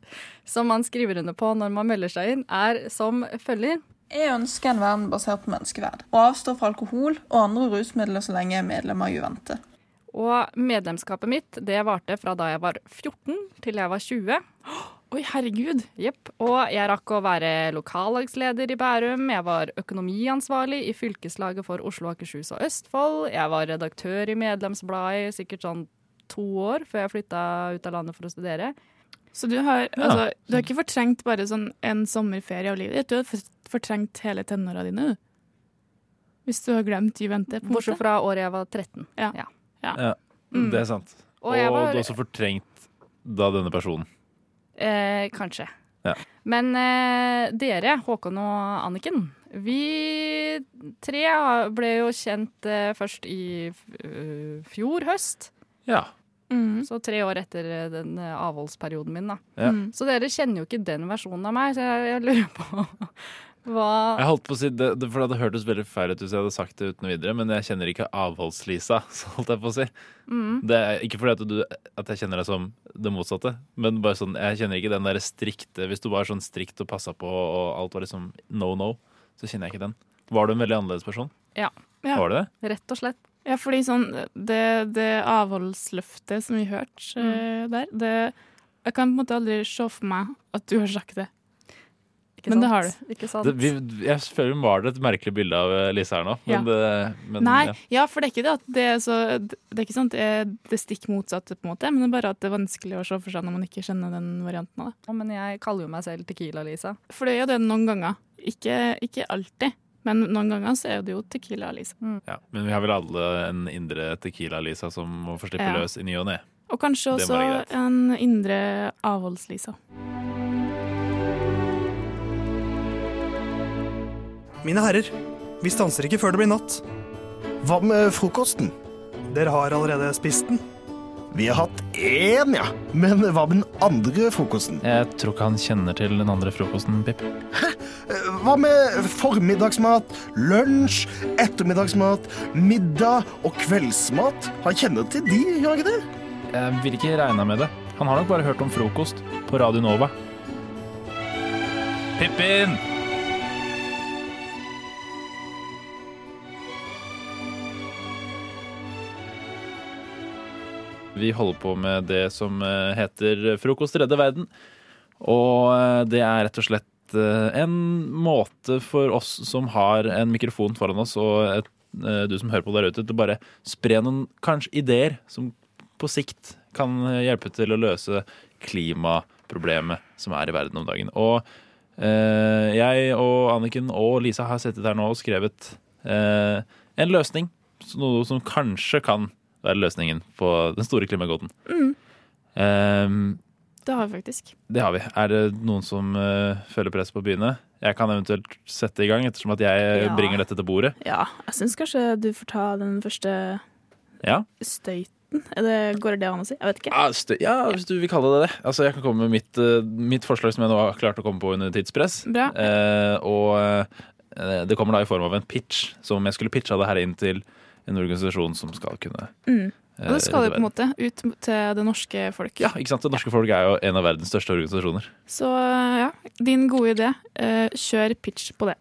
Speaker 17: som man skriver under på når man melder seg inn, er som følger.
Speaker 21: Jeg ønsker en verden basert på menneskeverd, og avstår fra alkohol og andre rusmidler så lenge jeg er medlem av Juvente.
Speaker 17: Og medlemskapet mitt det varte fra da jeg var 14 til jeg var 20. Oi, herregud! Jepp. Og jeg rakk å være lokallagsleder i Bærum, jeg var økonomiansvarlig i fylkeslaget for Oslo, Akershus og Østfold, jeg var redaktør i medlemsbladet i sikkert sånn to år før jeg flytta ut av landet for å studere.
Speaker 20: Så du har, altså, du har ikke fortrengt bare sånn en sommerferie av livet ditt, du har for- fortrengt hele tenåra dine, du. Hvis du har glemt Juvente.
Speaker 17: Bortsett fra året jeg var 13.
Speaker 20: Ja.
Speaker 19: Ja,
Speaker 17: Mm.
Speaker 19: det er sant.
Speaker 17: Og
Speaker 19: Og,
Speaker 17: jeg var-
Speaker 19: du har også fortrengt da denne personen.
Speaker 17: Eh, kanskje.
Speaker 19: Ja.
Speaker 17: Men eh, dere, Håkon og Anniken, vi tre har- ble jo kjent eh, først i f- øh, fjor høst. Mm.
Speaker 19: Ja.
Speaker 17: Så tre år etter eh, den eh, avholdsperioden min, da.
Speaker 19: Ja. Mm.
Speaker 17: Så dere kjenner jo ikke den versjonen av meg, så jeg, jeg lurer på <laughs> hva
Speaker 19: Jeg holdt på å si det, det, for det hadde hørtes veldig feil ut hvis jeg hadde sagt det uten videre, men jeg kjenner ikke avholds-Lisa, <laughs> så holdt jeg på å si.
Speaker 17: Mm.
Speaker 19: Det er ikke fordi at, du, at jeg kjenner deg som det motsatte, men bare sånn, jeg kjenner ikke den der strikte Hvis du var sånn strikt og passa på og alt var liksom no no, så kjenner jeg ikke den. Var du en veldig annerledes person?
Speaker 17: Ja.
Speaker 19: Var du det?
Speaker 17: Rett og slett.
Speaker 20: Ja, fordi sånn, det, det avholdsløftet som vi hørte
Speaker 17: Mm.
Speaker 20: eh, der, det, jeg kan på en måte aldri se for meg at du har sagt det. Men det har du.
Speaker 17: Ikke sant?
Speaker 19: det vi, jeg føler vi maler et merkelig bilde av eh, Lisa her nå, men,
Speaker 20: Ja.
Speaker 19: det, men
Speaker 20: Nei,
Speaker 19: ja.
Speaker 20: ja. for det er ikke det at det er så Det er ikke sånn at det er det stikk motsatte, på en måte, men det er bare at det er vanskelig å se for seg når man ikke kjenner den varianten av det.
Speaker 17: Å, Men jeg kaller jo meg selv Tequila-Lisa.
Speaker 20: For det er jo det noen ganger. Ikke, ikke alltid, men noen ganger så er det jo Tequila Alice.
Speaker 19: Ja, men vi har vel alle en indre Tequila-Lisa som må få slippe
Speaker 20: Ja.
Speaker 19: løs i ny og ne.
Speaker 20: Og kanskje
Speaker 19: Det må
Speaker 20: også
Speaker 19: være greit.
Speaker 20: en indre avholds-Lisa.
Speaker 4: Mine herrer, vi stanser ikke før det blir natt.
Speaker 10: Hva med frokosten?
Speaker 4: Dere har allerede spist den.
Speaker 10: Vi har hatt én, ja. Men hva med den andre frokosten?
Speaker 19: Jeg tror ikke han kjenner til den andre frokosten, Pip.
Speaker 10: Eh, Hva med formiddagsmat, lunsj, ettermiddagsmat, middag og kveldsmat? Han kjenner til de, gjør han ikke det?
Speaker 19: Jeg vil ikke regne med det. Han har nok bare hørt om frokost på Radio Nova. Pippin! Vi holder på med det som eh, heter Frokost redder verden. Og eh, det er rett og slett eh, en måte for oss som har en mikrofon foran oss, og et, eh, du som hører på der ute, til å bare spre noen kanskje ideer som på sikt kan eh, hjelpe til å løse klimaproblemet som er i verden om dagen. Og eh, jeg og Anniken og Lisa har sittet her nå og skrevet eh, en løsning. Så Noe som kanskje kan være løsningen på den store klimagåten.
Speaker 20: Mm,
Speaker 19: Eh,
Speaker 20: det har vi faktisk.
Speaker 19: det har vi. Er det noen som eh, føler press på å begynne? Jeg kan eventuelt sette i gang, ettersom at jeg
Speaker 20: Ja.
Speaker 19: Eh, bringer dette til bordet.
Speaker 20: Ja, jeg syns kanskje du får ta den første
Speaker 19: Ja.
Speaker 20: støyten. Er det, går det an å si? Jeg vet ikke.
Speaker 19: Ah, stø- Ja, hvis du vil kalle det det. Altså, jeg kan komme med mitt, eh, mitt forslag som jeg nå har klart å komme på under tidspress.
Speaker 20: Bra.
Speaker 19: Eh, og eh, det kommer da i form av en pitch, som om jeg skulle pitcha det her inn til en organisasjon som skal kunne
Speaker 20: Mm. Og
Speaker 19: Eh,
Speaker 20: det skal
Speaker 19: redde
Speaker 20: jo på en måte ut til det norske folk.
Speaker 19: Ja, ikke sant? Det norske folk er jo en av verdens største organisasjoner.
Speaker 20: Så ja, din gode idé. Eh, kjør pitch på det.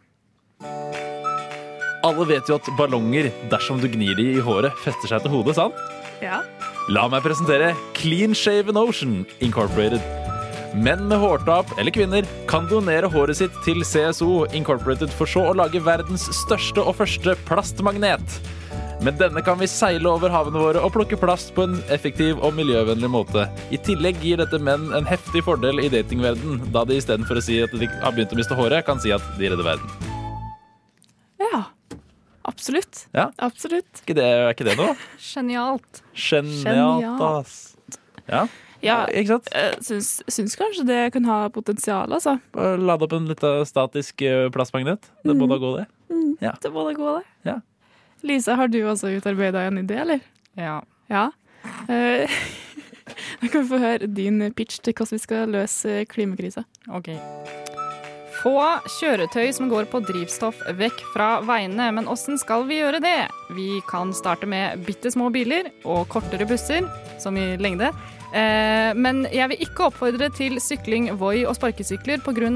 Speaker 19: Alle vet jo at ballonger, dersom du gnir de i håret, fester seg til hodet, sant?
Speaker 11: Ja.
Speaker 19: La meg presentere Clean Shaven Ocean Incorporated. Menn med hårtap eller kvinner kan donere håret sitt til CSO Incorporated for så å lage verdens største og første plastmagnet. Med denne kan vi seile over havene våre og plukke plast på en effektiv og miljøvennlig måte. I tillegg gir dette menn en heftig fordel i datingverden, da de istedenfor å si at de har begynt å miste håret, kan si at de redder verden.
Speaker 20: Ja. Absolutt.
Speaker 19: Ja?
Speaker 20: Absolutt.
Speaker 19: Er ikke det, er ikke det noe?
Speaker 20: Genialt.
Speaker 19: Genialt, ass. Ja.
Speaker 20: Ja, eh,
Speaker 19: ikke sant?
Speaker 20: Syns, syns kanskje det kan ha potensial, altså.
Speaker 19: Bare Lade opp en liten statisk eh, plastmagnet. Det må da gå, det.
Speaker 20: Mm,
Speaker 19: Ja.
Speaker 20: Det må da gå, det.
Speaker 19: Ja.
Speaker 20: Lisa, har du også utarbeida en idé, eller?
Speaker 17: Ja.
Speaker 20: Ja. Eh, <laughs> Da kan vi få høre din pitch til hvordan vi skal løse Eh, klimakrisa.
Speaker 17: Ok. Få kjøretøy som går på drivstoff vekk fra veiene, men åssen skal vi gjøre det? Vi kan starte med bitte små biler og kortere busser, som i lengde. Eh, men jeg vil ikke oppfordre til sykling, voi og sparkesykler pga.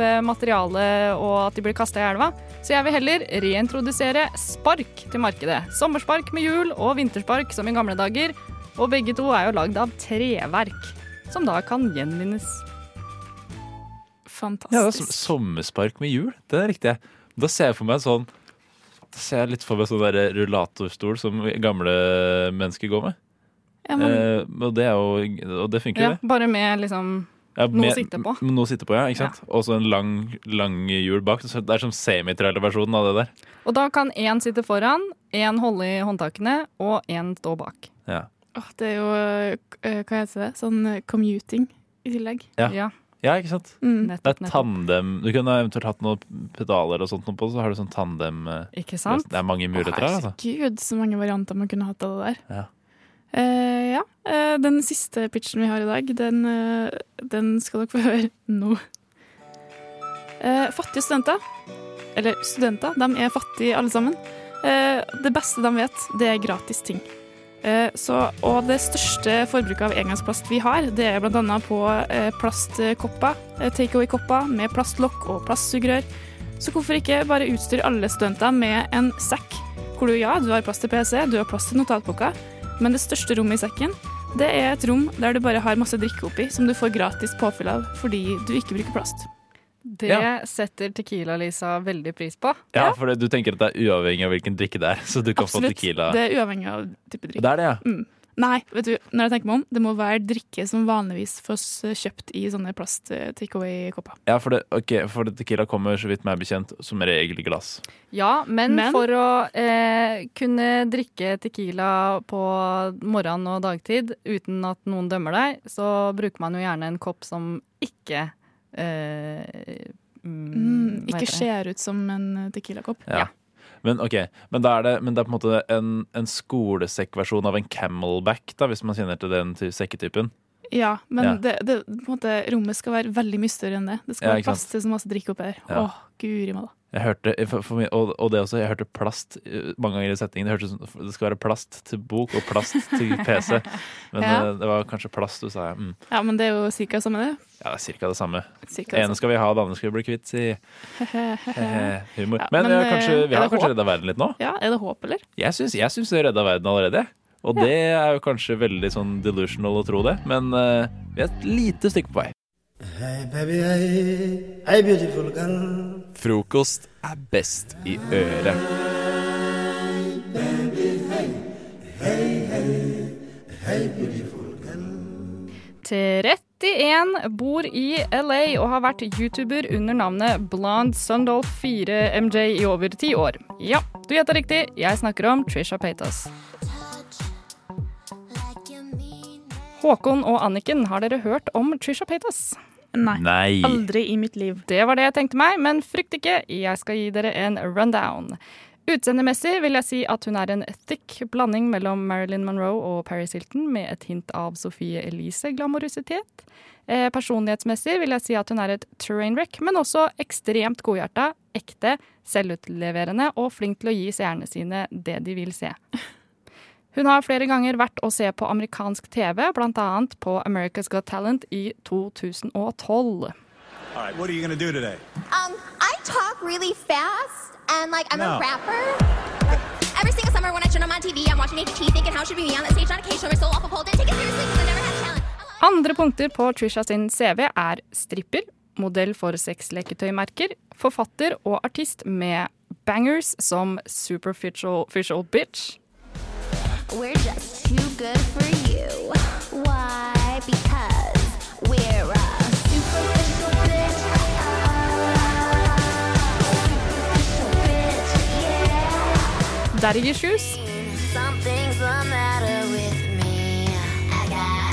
Speaker 17: eh, materialet og at de blir kasta i elva, så jeg vil heller reintrodusere spark til markedet. Sommerspark med hjul og vinterspark som i gamle dager, og begge to er jo lagd av treverk, som da kan gjenvinnes.
Speaker 19: Ja, det er
Speaker 20: Fantastisk.
Speaker 19: som- sommerspark med hjul. Det er riktig. Da ser jeg for meg en sånn Da ser jeg litt for meg sånn der rullatorstol som gamle mennesker går med.
Speaker 17: Ja, men-
Speaker 19: eh, og det er jo Og det funker,
Speaker 17: Ja,
Speaker 19: det.
Speaker 17: bare med liksom
Speaker 19: Ja,
Speaker 17: noe
Speaker 19: med-
Speaker 17: å sitte på.
Speaker 19: Noe å sitte på, ja. ikke sant? Og så en lang, lang hjul bak. Så Det er som semitrailerversjonen av det der.
Speaker 17: Og da kan én sitte foran, én holde i håndtakene og én stå bak.
Speaker 19: Ja.
Speaker 20: Åh, det er jo eh, Hva heter det? Sånn eh, commuting i tillegg.
Speaker 19: Ja. Ja, ikke sant?
Speaker 20: Mm.
Speaker 19: det
Speaker 20: Nettopp,
Speaker 19: er
Speaker 20: nettopp.
Speaker 19: tandem. Du kunne eventuelt hatt noen pedaler og sånt noe på, så har du sånn tandem eh,
Speaker 20: Ikke sant?
Speaker 19: Det er mange muligheter her, altså.
Speaker 20: Gud, så mange varianter man kunne hatt av det der.
Speaker 19: Ja.
Speaker 20: Eh, ja. eh, den siste pitchen vi har i dag, den, eh, den skal dere få <laughs> høre nå. Eh, fattige studenter, eller studenter, de er fattige alle sammen. Eh, det beste de vet, det er gratis ting. Eh, så, og det største forbruket av engangsplast vi har, det er bl.a. på eh, plastkopper, eh, takeaway-kopper med plastlokk og plastsugerør. Så hvorfor ikke bare utstyre alle studenter med en sekk, hvor du ja, du har plass til PC, du har plass til notatboka, men det største rommet i sekken, det er et rom der du bare har masse drikke oppi, som du får gratis påfyll av fordi du ikke bruker plast.
Speaker 17: Det setter Tequila-Lisa veldig pris på.
Speaker 19: Ja, for det, du tenker at det er uavhengig av hvilken drikke det er, <laughs> så du kan få tequila.
Speaker 20: Det er uavhengig av type drikk.
Speaker 19: Det er det, ja.
Speaker 20: Mm. Nei, vet du, når jeg tenker meg om, det må være drikke som vanligvis fås kjøpt i sånne plast-takeaway-kopper.
Speaker 19: Ja, for, det, ok, for det tequila kommer, så vidt meg bekjent, som regel i glass.
Speaker 17: Ja, men,
Speaker 20: Men-
Speaker 17: for å eh, kunne drikke tequila på morgen og dagtid uten at noen dømmer deg, så bruker man jo gjerne en kopp som ikke eh,
Speaker 20: Mm,
Speaker 17: mm, hva
Speaker 20: ikke
Speaker 17: heter det?
Speaker 20: ser ut som en eh, tequila-kopp.
Speaker 19: Ja. Men ok, men da er det, men det er på en måte en, en skolesekkversjon av en camelback, da, hvis man kjenner til den ty- sekketypen.
Speaker 20: Ja, men
Speaker 19: Ja.
Speaker 20: Det, det, på en måte, rommet skal være veldig mye større enn det. Det skal
Speaker 19: Ja,
Speaker 20: være
Speaker 19: ikke sant.
Speaker 20: plass til så masse drikk oppi her.
Speaker 19: Ja.
Speaker 20: Åh, guri malla.
Speaker 19: Jeg hørte, eh, for, for meg, og, og det også, jeg hørte plast eh, mange ganger i setningen. Det, hørtes ut som, det skal være plast til bok og plast
Speaker 20: <laughs>
Speaker 19: til PC. Men
Speaker 20: Ja.
Speaker 19: eh, det var kanskje plast du sa, ja. Mm.
Speaker 20: Ja, men det er jo cirka samme
Speaker 19: <laughs>
Speaker 20: det. <laughs>
Speaker 19: Ja, det er cirka det samme.
Speaker 20: Cirka det
Speaker 19: Det ene
Speaker 20: samme.
Speaker 19: skal vi ha, det andre skal vi bli kvitt,
Speaker 20: <laughs>
Speaker 19: si. Eh, Humor.
Speaker 20: Ja,
Speaker 19: men
Speaker 20: men,
Speaker 19: vi har kanskje,
Speaker 20: eh, er
Speaker 19: vi har
Speaker 20: det
Speaker 19: kanskje
Speaker 20: håp?
Speaker 19: redda verden litt nå?
Speaker 20: Ja, er det håp, eller?
Speaker 19: Jeg syns, jeg syns vi redda verden allerede. Og
Speaker 20: Ja.
Speaker 19: det er jo kanskje veldig sånn delusional å tro det, men eh, vi er et lite stykke på vei.
Speaker 6: Hey baby, hey, hey beautiful girl.
Speaker 3: Frokost er best i øret.
Speaker 17: Til 31 bor i LA og har vært YouTuber under navnet Blonde Sundolf 4MJ i over ti år. Ja, du gjetta riktig. Jeg snakker om Trisha Paytas. Håkon og Anniken, har dere hørt om Trisha Paytas?
Speaker 20: Nei.
Speaker 19: Nei.
Speaker 20: Aldri i mitt liv.
Speaker 17: Det var det jeg tenkte meg, men frykt ikke, jeg skal gi dere en rundown. Utseendemessig vil jeg si at hun er en thick blanding mellom Marilyn Monroe og Paris Hilton, med et hint av Sophie Elise-glamorøsitet. Eh, personlighetsmessig vil jeg si at hun er et terrain wreck, men også ekstremt godhjerta, ekte, selvutleverende og flink til å gi seerne sine det de vil se. Hun har flere ganger vært å se på amerikansk TV, bl.a. på America's Got Talent i 2012.
Speaker 7: All right, what are you going to do today?
Speaker 22: Um, I talk really fast
Speaker 7: and like I'm
Speaker 9: No.
Speaker 7: a rapper. Every single summer when I turn on my TV, I'm watching HT, thinking how should we be on that stage on a cage show or so off a pole. Didn't take it seriously because I never had talent.
Speaker 17: Andre punkter på Trisha sin CV er stripper, modell for sexleketøymerker, forfatter og artist med bangers som Superficial Visual Bitch.
Speaker 7: We're just too good for you. Why? Because we're a superficial bitch.
Speaker 17: Daddy Issues.
Speaker 7: Something's the matter with me. I got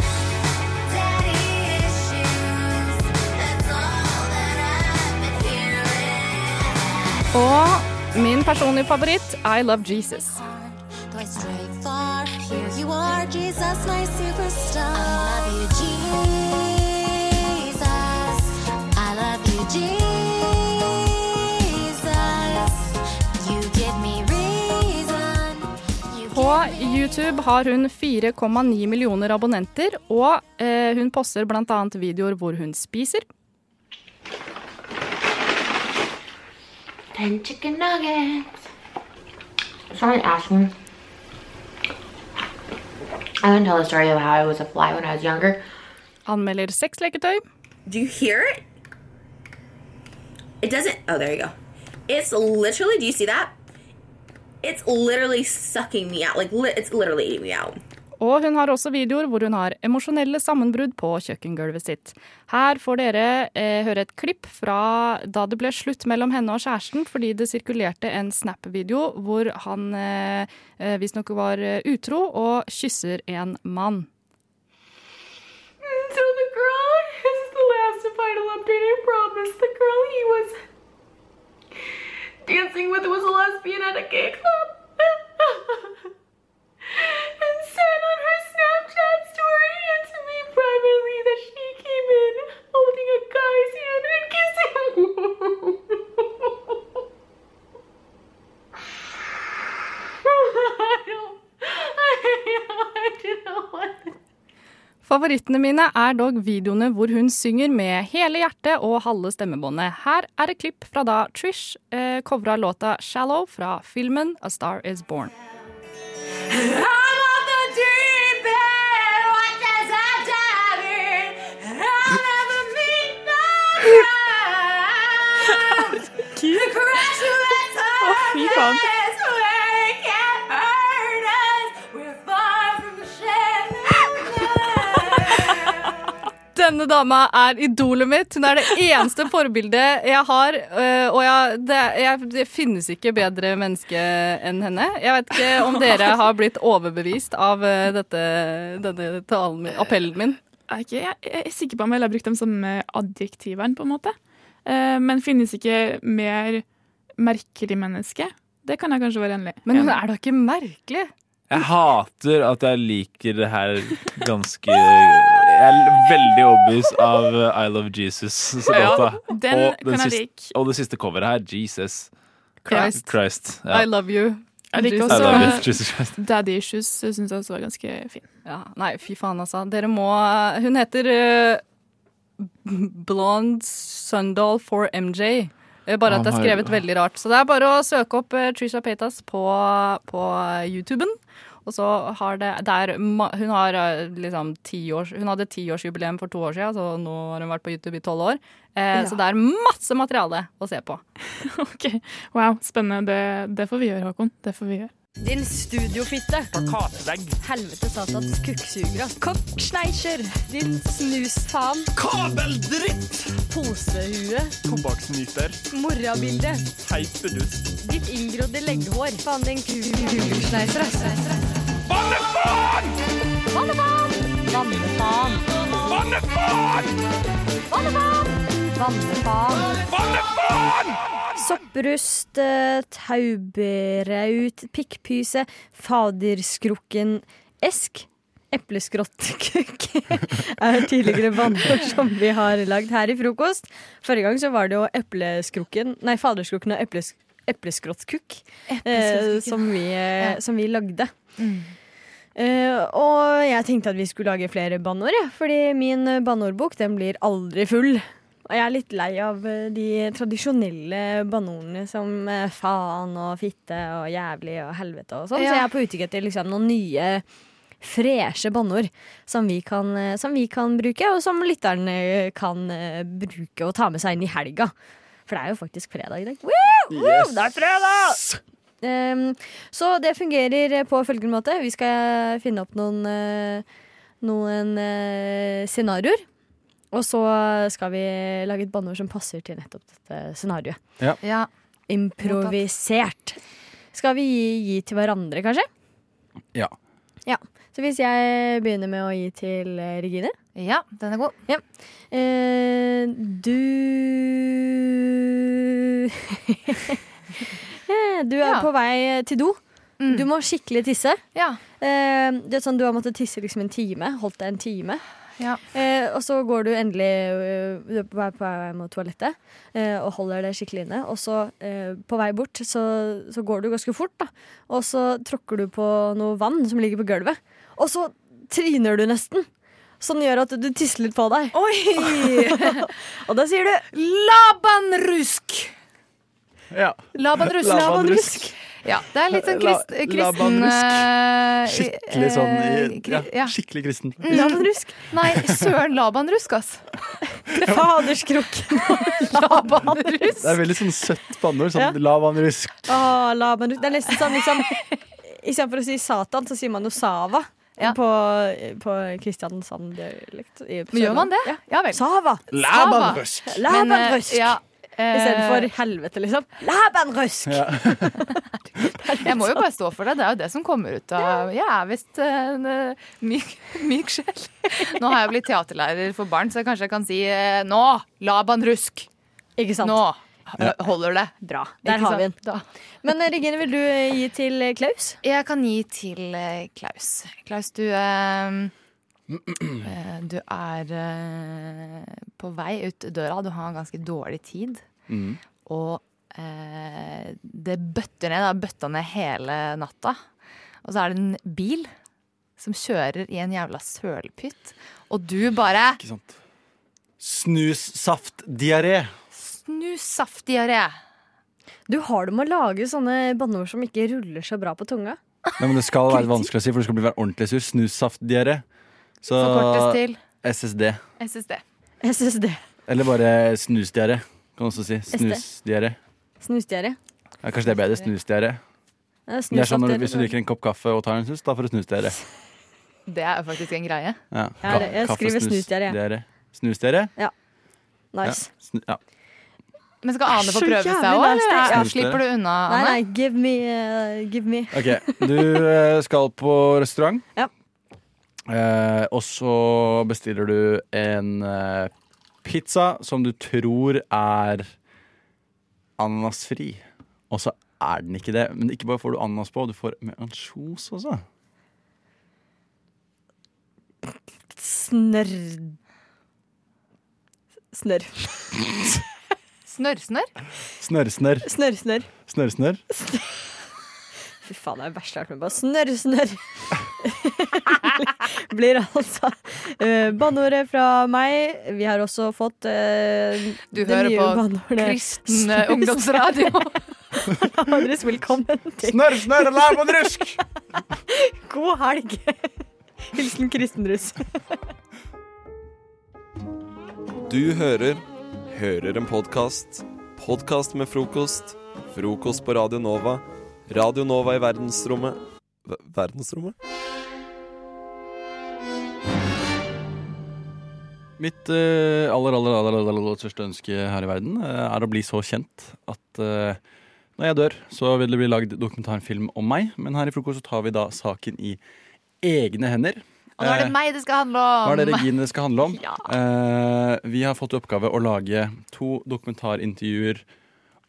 Speaker 7: daddy issues. That's all that I've been hearing.
Speaker 17: Og min personlige favoritt, I Love Jesus.
Speaker 7: Though I stray far, here you are, Jesus, my superstar. I love you, Jesus. I love you, Jesus. You give me reason.
Speaker 17: På YouTube har hun 4,9 millioner abonnenter, og eh, hun poster bl.a. videoer hvor hun spiser.
Speaker 7: Ten chicken nuggets.
Speaker 22: Someone asked me. I can tell the story of how I was a fly when I was younger.
Speaker 17: Anmelder sexleketøy.
Speaker 22: Do you hear it? It doesn't. Oh, there you go. It's literally. Do you see that? It's literally sucking me out. Like li- it's literally eating me out.
Speaker 17: Og hun har også videoer hvor hun har emosjonelle sammenbrudd på kjøkkengulvet sitt. Her får dere eh, høre et klipp fra da det ble slutt mellom henne og kjæresten fordi det sirkulerte en Snap-video hvor han eh, eh, visstnok var eh, utro og kysser en mann.
Speaker 22: Until the girl, this is the last and final update. I promise. The girl he was dancing with was a lesbian at a gay club. <laughs> and said on her Snapchat story and to me privately that she came in holding a guy's hand and kissed him. <laughs> I don't, I, I don't want
Speaker 17: Favorittene mine er dog videoene hvor hun synger med hele hjertet og halve stemmebåndet. Her er et klipp fra da Trish eh, covra låta 'Shallow' fra filmen 'A Star Is Born'.
Speaker 22: I'm on the deep end. Watch as I dive in. I'll never meet the ground. the crash of the
Speaker 20: fy faen.
Speaker 22: time is where it can't hurt us. We're far from shame.
Speaker 17: Denne dama er idolet mitt. Hun er det eneste forbildet jeg har. øh, Og jeg, det, jeg, det finnes ikke bedre menneske enn henne. Jeg vet ikke om dere har blitt overbevist av øh, dette, denne talen min, appellen min.
Speaker 20: er ikke, jeg, jeg er sikker på om jeg ville ha brukt de samme adjektivene, på en måte. Eh, men finnes ikke mer merkelig menneske? Det kan jeg kanskje være enig i.
Speaker 17: Men hun er da ikke merkelig?
Speaker 19: Jeg hater at jeg liker det her ganske Jeg er veldig overbevist av eh, I Love Jesus-låta.
Speaker 20: Ja, den
Speaker 19: og,
Speaker 20: kan jeg
Speaker 19: siste- og det siste coveret her, Jesus.
Speaker 20: Christ.
Speaker 19: Christ ja.
Speaker 17: love you.
Speaker 20: Jeg liker
Speaker 19: I love you,
Speaker 20: også
Speaker 19: Jesus Christ.
Speaker 20: Daddy Issues syns jeg også var ganske fin.
Speaker 17: Ja, nei, fy faen, altså. Dere må Hun heter øh, Blonde Sundal for MJ. Eh, Bare
Speaker 20: Oh
Speaker 17: at det er
Speaker 20: my
Speaker 17: skrevet
Speaker 20: God.
Speaker 17: veldig rart. Så det er bare å søke opp eh, Trisha Paytas på, på eh, YouTuben. Og så har det, det er, ma- hun, har, eh, liksom, 10 års, hun hadde tiårsjubileum for to år siden, så nå har hun vært på YouTube i tolv år.
Speaker 20: Ja.
Speaker 17: Eh, Så det er masse materiale å se på.
Speaker 20: Wow, spennende. Det, det får vi gjøre, Håkon. Det får vi gjøre.
Speaker 23: Din studiofitte. Plakatvegg. Helvete satans kukksugere. Kokksneisjer. Din snusfaen. Kabeldritt! Posehue.
Speaker 24: Tobakksnyter.
Speaker 23: Morabilde.
Speaker 24: Teipedust.
Speaker 23: Ditt inngrodde legghår. Faen, din kuksneiser, ass. Bannefaen! Bannefaen! Bannefaen! Bannefaen! Bannefaen! Bannefaen! Bannefaen!
Speaker 25: Sopprust, eh, tauberaut, pikkpyse, faderskrukken, esk, <laughs> epleskrottkuk er tidligere vannord som vi har lagd her i frokost. Forrige gang så var det jo epleskrukken, nei faderskrukken og eples, epleskrottkuk eh, Epleskrottkuk, ja. som, vi, eh, Ja. som vi lagde. Eh, og jeg tenkte at vi skulle lage flere banneord, jeg, fordi min eh, banneordbok den blir aldri full. Og jeg er litt lei av eh, de tradisjonelle banneordene som eh, faen og fitte og jævlig og helvete og sånn.
Speaker 9: Ja.
Speaker 25: Så jeg er på utkikk etter liksom, noen nye freshe banneord som, vi kan, eh, som vi kan bruke, og som lytterne kan eh, bruke og ta med seg inn i helga. For det er jo faktisk fredag i dag. Woo! Woo!
Speaker 9: Yes.
Speaker 25: Det er fredag! Ehm, så det fungerer eh, på følgende måte. Vi skal finne opp noen, eh, noen eh, scenarioer. Og så skal vi lage et banneord som passer til nettopp dette scenarioet.
Speaker 1: Ja.
Speaker 25: Improvisert. Skal vi gi, gi til hverandre, kanskje?
Speaker 1: Ja.
Speaker 25: Ja. Så hvis jeg begynner med å gi til eh, Regine Ja, den er god. Eh, du Eh, Du er
Speaker 9: Ja.
Speaker 25: på vei til do. Du må skikkelig tisse. Eh, det er sånn, du har måttet tisse liksom en time. Holdt deg en time. Eh, og så går du endelig eh, du er på vei- på vei mot toalettet eh, og holder det skikkelig inne. Og så eh, på vei bort så, så går du ganske fort, da. Og så tråkker du på noe vann som ligger på gulvet. Og så tryner du nesten. Sånn gjør at du tisser litt på deg. <laughs> og da sier du
Speaker 21: Labanrusk!
Speaker 1: Ja.
Speaker 21: Labanrusk.
Speaker 1: Labanrusk.
Speaker 21: Ja, det er litt sånn krist,
Speaker 1: La-
Speaker 21: kristen
Speaker 1: labanrusk.
Speaker 21: eh,
Speaker 1: Skikkelig sånn i-
Speaker 21: eh, kri-
Speaker 1: ja, Skikkelig kristen.
Speaker 21: Mm. Nei, søren labanrusk, ass.
Speaker 25: Faderskrukken.
Speaker 1: Det er veldig sånn søtt banneord. Sånn labanrusk.
Speaker 25: Åh, la meg ut. Det er nesten sånn liksom Istedenfor å si Satan, så sier man jo Sava. På, på Kristiansand-dialekt. i- på
Speaker 21: Men gjør man det?
Speaker 25: Sørlandet.
Speaker 21: Ja vel.
Speaker 25: Sava.
Speaker 21: Labanrusk.
Speaker 25: Sava.
Speaker 21: Men, eh,
Speaker 25: Labanrusk.
Speaker 21: ja, eh,
Speaker 25: Istedenfor helvete, liksom. Labanrusk!
Speaker 21: <laughs> Jeg må jo bare stå for det. Det er jo det som kommer ut av Jeg er visst eh, en eh, myk, <laughs> myk sjel. Nå har jeg blitt teaterlærer for barn, så kanskje jeg kan si eh, nå, labanrusk.
Speaker 25: Ikke sant?
Speaker 21: Nå
Speaker 25: Ja.
Speaker 21: eh, holder det.
Speaker 25: Bra. Der har vi den. Men eh, Regine, vil du eh, gi til eh, Klaus?
Speaker 21: Jeg kan gi til eh, Klaus. Klaus, du eh, eh, Du er eh, på vei ut døra. Du har ganske dårlig tid.
Speaker 12: Mm.
Speaker 21: Og eh, det bøtter ned. Det har bøtta ned hele natta. Og så er det en bil som kjører i en jævla sølpytt, og du bare
Speaker 1: Ikke sant. Snussaftdiaré.
Speaker 21: Snussaftdiaré.
Speaker 25: Du har det med å lage sånne banneord som ikke ruller så bra på tunga.
Speaker 1: Nei, men det skal være vanskelig å si, for du skal bli være ordentlig sur. Snussaftdiaré. Så
Speaker 21: Forkortes til?
Speaker 1: SSD.
Speaker 21: SSD.
Speaker 25: SSD.
Speaker 1: Eller bare snusdiaré. Kan også si.
Speaker 25: SD.
Speaker 1: Snusdiaré.
Speaker 25: Snusdiaré.
Speaker 1: Ja, kanskje det er bedre. Snusdiaré.
Speaker 25: Eh,
Speaker 1: Det er sånn når,
Speaker 25: snussaftdiaré.
Speaker 1: du- hvis du drikker en kopp kaffe og tar en snus, da får du snusdiaré.
Speaker 21: Det er jo faktisk en greie.
Speaker 1: Ja.
Speaker 25: Ja, det- jeg
Speaker 1: Kaffe,
Speaker 25: skriver
Speaker 1: snus,
Speaker 25: snusdiaré.
Speaker 1: diaré. Snusdiaré?
Speaker 25: Ja. Nice.
Speaker 1: Ja. Snu, ja.
Speaker 21: Men skal Ane få
Speaker 25: Så
Speaker 21: prøve seg
Speaker 25: jævlig
Speaker 21: òg, eller
Speaker 25: nasty.
Speaker 21: er- slipper du unna,
Speaker 25: Nei,
Speaker 21: Ane?
Speaker 25: nei, give me. eh, give me.
Speaker 1: Ok, du eh, skal på restaurant.
Speaker 25: Ja.
Speaker 1: Eh, og så bestiller du en eh, pizza som du tror er ananasfri. Og så er den ikke det. Men ikke bare får du ananas på, du får med ansjos også.
Speaker 25: Snørr... Snørr.
Speaker 21: Snørrsnørr?
Speaker 1: Snørrsnørr.
Speaker 25: Snørrsnørr.
Speaker 1: Snørrsnørr.
Speaker 25: Fy faen, det er verst jeg har vært med på. Snørr, <laughs> snørr. Blir altså eh, banneordet fra meg. Vi har også fått eh,
Speaker 21: Du
Speaker 25: det
Speaker 21: hører
Speaker 25: nye
Speaker 21: på
Speaker 25: banneordet
Speaker 21: kristen,
Speaker 25: snørr,
Speaker 21: eh,
Speaker 25: <laughs>
Speaker 21: ungdomsradio.
Speaker 25: snørr. Alle andres velkommen til
Speaker 1: Snørr, snørr, lær på rusk!
Speaker 25: God helg. Hilsen kristenruss.
Speaker 5: Du hører Hører en podkast. Podkast med frokost. Frokost på Radio Nova. Radio Nova i verdensrommet Ver- Verdensrommet?
Speaker 1: Mitt eh, aller, aller, aller, aller, aller største ønske her i verden eh, er å bli så kjent at eh, når jeg dør, så vil det bli lagd dokumentarfilm om meg. Men her i frokost så tar vi da saken i egne hender.
Speaker 21: Og nå er
Speaker 1: Eh,
Speaker 21: det meg det skal handle om!
Speaker 1: hva er det
Speaker 21: <laughs>
Speaker 1: Regine det skal handle om? Eh, vi har fått i oppgave å lage to dokumentarintervjuer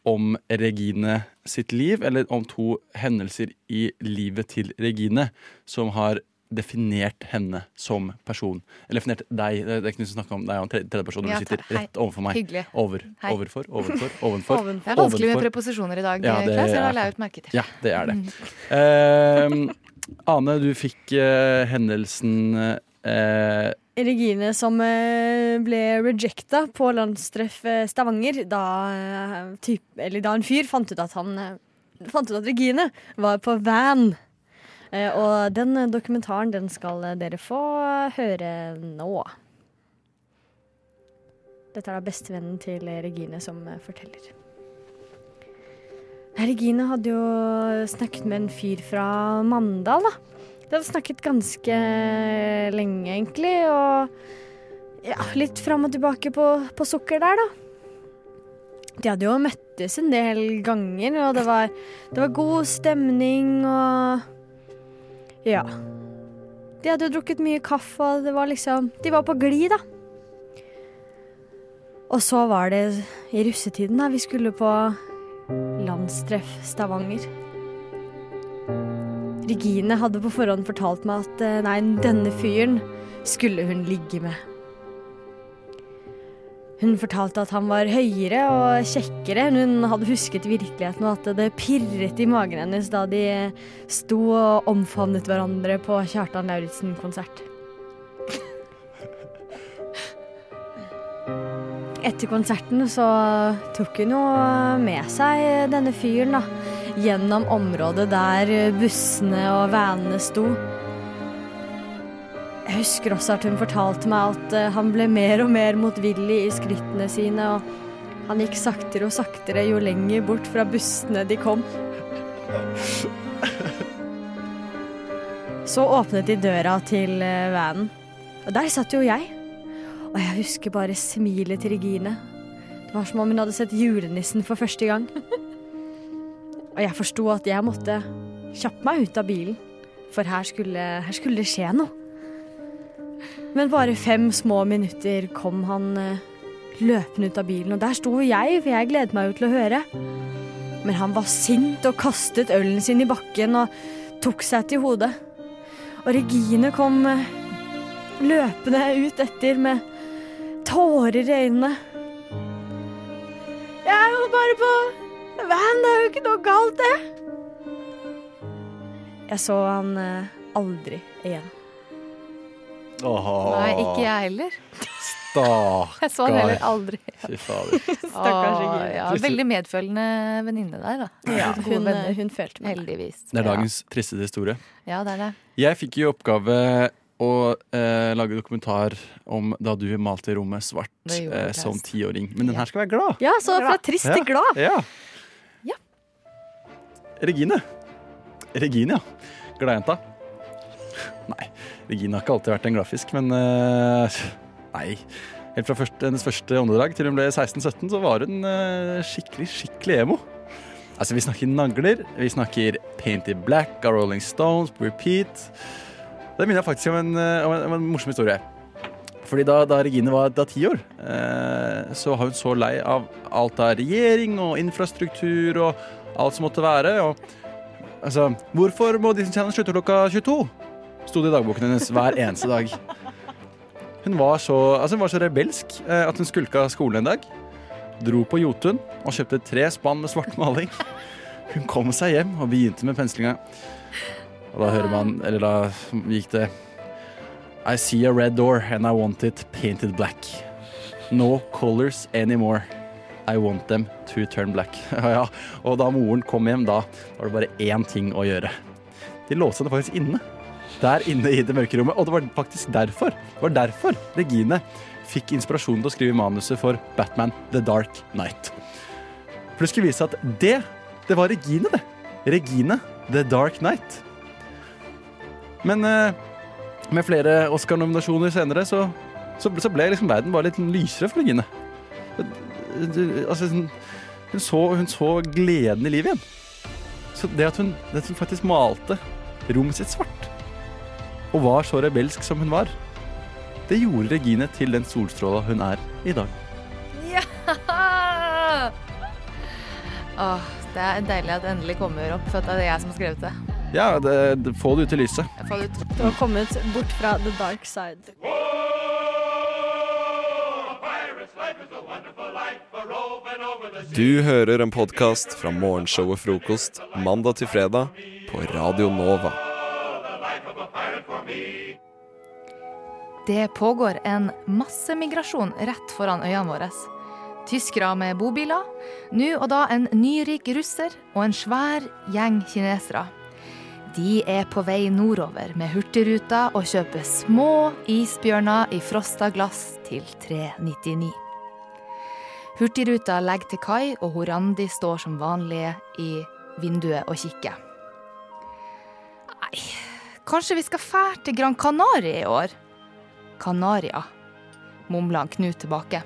Speaker 1: om Regine sitt liv, eller om to hendelser i livet til Regine som har definert henne som person. Eller definert deg. Det er ikke noe som snakker om deg og en tredje person når
Speaker 21: Ja,
Speaker 1: du sitter
Speaker 21: hei.
Speaker 1: rett overfor meg.
Speaker 21: Hyggelig.
Speaker 1: Over,
Speaker 21: Hei.
Speaker 1: overfor, overfor, ovenfor.
Speaker 21: <laughs> Ovenfor. Det er vanskelig med
Speaker 1: ovenfor.
Speaker 21: preposisjoner i dag, Klaus, det har jeg lagt merke til.
Speaker 1: Ja, det er det.
Speaker 21: Mm.
Speaker 1: Ehm, Eh, Ane, du fikk eh, hendelsen eh,
Speaker 25: Regine som eh, ble rejecta på landstreff eh, Stavanger da, eh, typ, eller da en fyr fant ut at han eh, fant ut at Regine var på van. Eh, Og den eh, dokumentaren den skal eh, dere få høre nå. Dette er da bestevennen til eh, Regine som eh, forteller. Nei, Regine hadde jo snakket med en fyr fra Mandal, da. De hadde snakket ganske lenge, egentlig, og ja, litt fram og tilbake på, på sukker der, da. De hadde jo møttes en del ganger, og det var, det var god stemning og Ja. De hadde jo drukket mye kaffe, og det var liksom De var på glid, da. Og så var det i russetiden, da. Vi skulle på landstreff Stavanger. Regine hadde på forhånd fortalt meg at eh, nei, denne fyren skulle hun ligge med. Hun fortalte at han var høyere og kjekkere enn hun hadde husket i virkeligheten, og at det pirret i magen hennes da de eh, sto og omfavnet hverandre på Kjartan Lauritzen-konsert. Etter konserten så tok hun jo med seg denne fyren da, gjennom området der bussene og vanene sto. Jeg husker også at hun fortalte meg at eh, han ble mer og mer motvillig i skrittene sine, og han gikk saktere og saktere jo lenger bort fra bussene de kom. Så åpnet de døra til eh, vanen, og der satt jo jeg. Og jeg husker bare smilet til Regine. Det var som om hun hadde sett julenissen for første gang. <laughs> Og jeg forsto at jeg måtte kjappe meg ut av bilen, for her skulle, her skulle det skje noe. Men bare fem små minutter kom han eh, løpende ut av bilen, og der sto jeg, for jeg gledet meg jo til å høre. Men han var sint og kastet ølen sin i bakken og tok seg til hodet. Og Regine kom eh, løpende ut etter med tårer i øynene. Jeg er jo bare på van, det er jo ikke noe galt, det. Jeg så han eh, aldri igjen.
Speaker 21: Nei, ikke jeg heller.
Speaker 1: Stakkar.
Speaker 21: Jeg så han heller aldri.
Speaker 1: Fy
Speaker 21: <laughs>
Speaker 1: fader.
Speaker 21: Åh,
Speaker 25: Regine.
Speaker 21: ja, veldig medfølende venninne der, da.
Speaker 25: Ja,
Speaker 21: Gode
Speaker 25: hun, eh,
Speaker 21: venner.
Speaker 25: hun følte meg.
Speaker 21: Heldigvis.
Speaker 1: Det er dagens tristeste historie.
Speaker 21: Ja, det er det.
Speaker 1: Jeg fikk i oppgave å eh, lage dokumentar om da du malte rommet svart
Speaker 25: Det gjorde
Speaker 1: eh,
Speaker 25: jeg.
Speaker 1: som tiåring. Men den her skal være glad.
Speaker 25: Ja, så fra trist til glad.
Speaker 1: Ja. Regine. Regine, ja. Gladjenta. Nei, Regine har ikke alltid vært en gladfisk, men eh, nei. Helt fra første, hennes første åndedrag til hun ble 16-17, så var hun eh, skikkelig, skikkelig emo. Altså, vi snakker nagler, vi snakker Painted Black av Rolling Stones på repeat. Det minner jeg faktisk om en, eh, om en, om en morsom historie. Fordi da, da Regine var da ti år, eh, så var hun så lei av alt av regjering og infrastruktur og alt som måtte være. Og, altså, hvorfor må Disney Channel slutte klokka 22? Sto det i dagboken hennes hver eneste dag. Hun var så, altså, hun var så rebelsk eh, at hun skulka skolen en dag. Dro på Jotun og kjøpte tre spann med svart maling. Hun kom seg hjem og begynte med penslinga. Og da hører man, eller da gikk det I see a red door and I want it painted black. No colors anymore. I want them to turn black. <laughs> Ja, ja. Og da moren kom hjem, da var det bare én ting å gjøre. De låste henne faktisk inne. Der inne i det mørke rommet. Og det var faktisk derfor det var derfor Regine fikk inspirasjonen til å skrive manuset for Batman The Dark Night. For det skulle vise seg at det, det var Regine, det. Regine The Dark Night. Men eh, med flere Oscar-nominasjoner senere, så, så, så ble liksom verden bare litt lysere for Regine. Du- Altså, hun, hun, så, hun så gleden i livet igjen. Så det at hun, det at hun faktisk malte rommet sitt svart, og var så rebelsk som hun var, det gjorde Regine til den solstråla hun er i dag.
Speaker 21: Ja! <laughs> Åh, det er deilig at det endelig kommer opp, for at det er jeg som har skrevet det.
Speaker 1: Ja, det, det, få det ut i lyset.
Speaker 21: Jeg får det ut.
Speaker 25: Du har kommet bort fra the dark side.
Speaker 5: Du hører en podkast fra morgenshow og frokost mandag til fredag på Radio Nova.
Speaker 21: Det pågår en massemigrasjon rett foran øynene våre. Tyskere med bobiler, nå og da en nyrik russer og en svær gjeng kinesere. De er på vei nordover med Hurtigruta og kjøper små isbjørner i frosta glass til 399. Hurtigruta legger til kai, og Horandi står som vanlig i vinduet og kikker. Nei, kanskje vi skal fære til Gran Canaria i år? Canaria, mumler han Knut tilbake.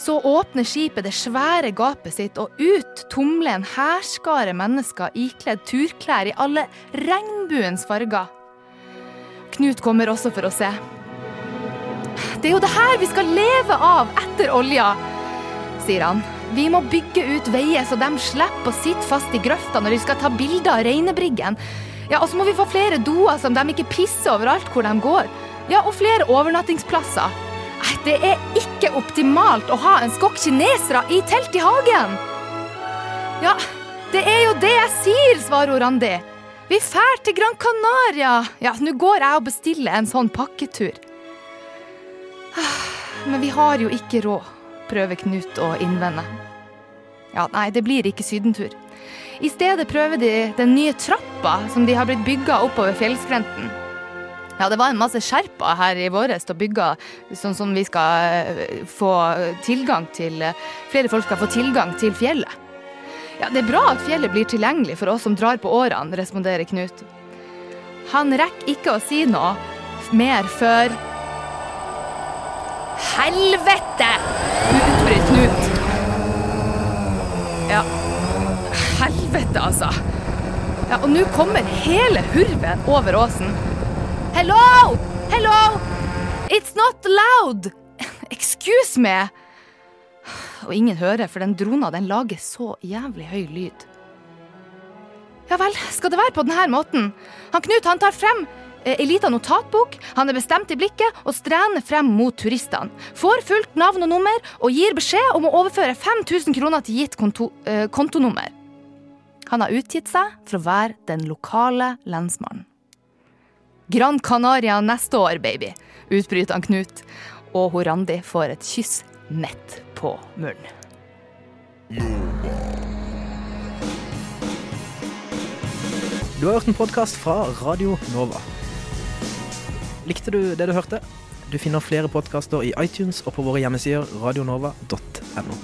Speaker 21: Så åpner skipet det svære gapet sitt, og ut tumler en hærskare mennesker ikledd turklær i alle regnbuens farger. Knut kommer også for å se. Det er jo det her vi skal leve av etter olja, sier han. Vi må bygge ut veier så de slipper å sitte fast i grøfta når de skal ta bilder av reinebriggen. Ja, og så må vi få flere doer som de ikke pisser overalt hvor de går. Ja, og flere overnattingsplasser. Nei, det er ikke optimalt å ha en skokk kinesere i telt i hagen! Ja, det er jo det jeg sier, svarer Randi. Vi fær til Gran Canaria. Ja, nå går jeg og bestiller en sånn pakketur. Men vi har jo ikke råd, prøver Knut å innvende. Ja, nei, det blir ikke sydentur. I stedet prøver de den nye trappa som de har blitt bygga oppover fjellskrenten. Ja, det var en masse sherpaer her i våres til å bygge, sånn som vi skal eh, få tilgang til eh, Flere folk skal få tilgang til fjellet. Ja, det er bra at fjellet blir tilgjengelig for oss som drar på årene, responderer Knut. Han rekker ikke å si noe mer før Helvete! utbryter Knut. Ja. Helvete, altså. Ja, og nå kommer hele hurven over åsen. Hello! Hello! It's not loud! <laughs> Excuse me! Og ingen hører, for den drona den lager så jævlig høy lyd. Ja vel, skal det være på denne måten? Han Knut han tar frem eh, ei lita notatbok, han er bestemt i blikket og strener frem mot turistene. Får fulgt navn og nummer og gir beskjed om å overføre 5000 kroner til gitt konto, eh, kontonummer. Han har utgitt seg for å være den lokale lensmannen. Gran Canaria neste år, baby, utbryter han Knut, og hun Randi får et kyss midt på munnen.
Speaker 22: Du har hørt en podkast fra Radio Nova. Likte du det du hørte? Du finner flere podkaster i iTunes og på våre hjemmesider radionova.no.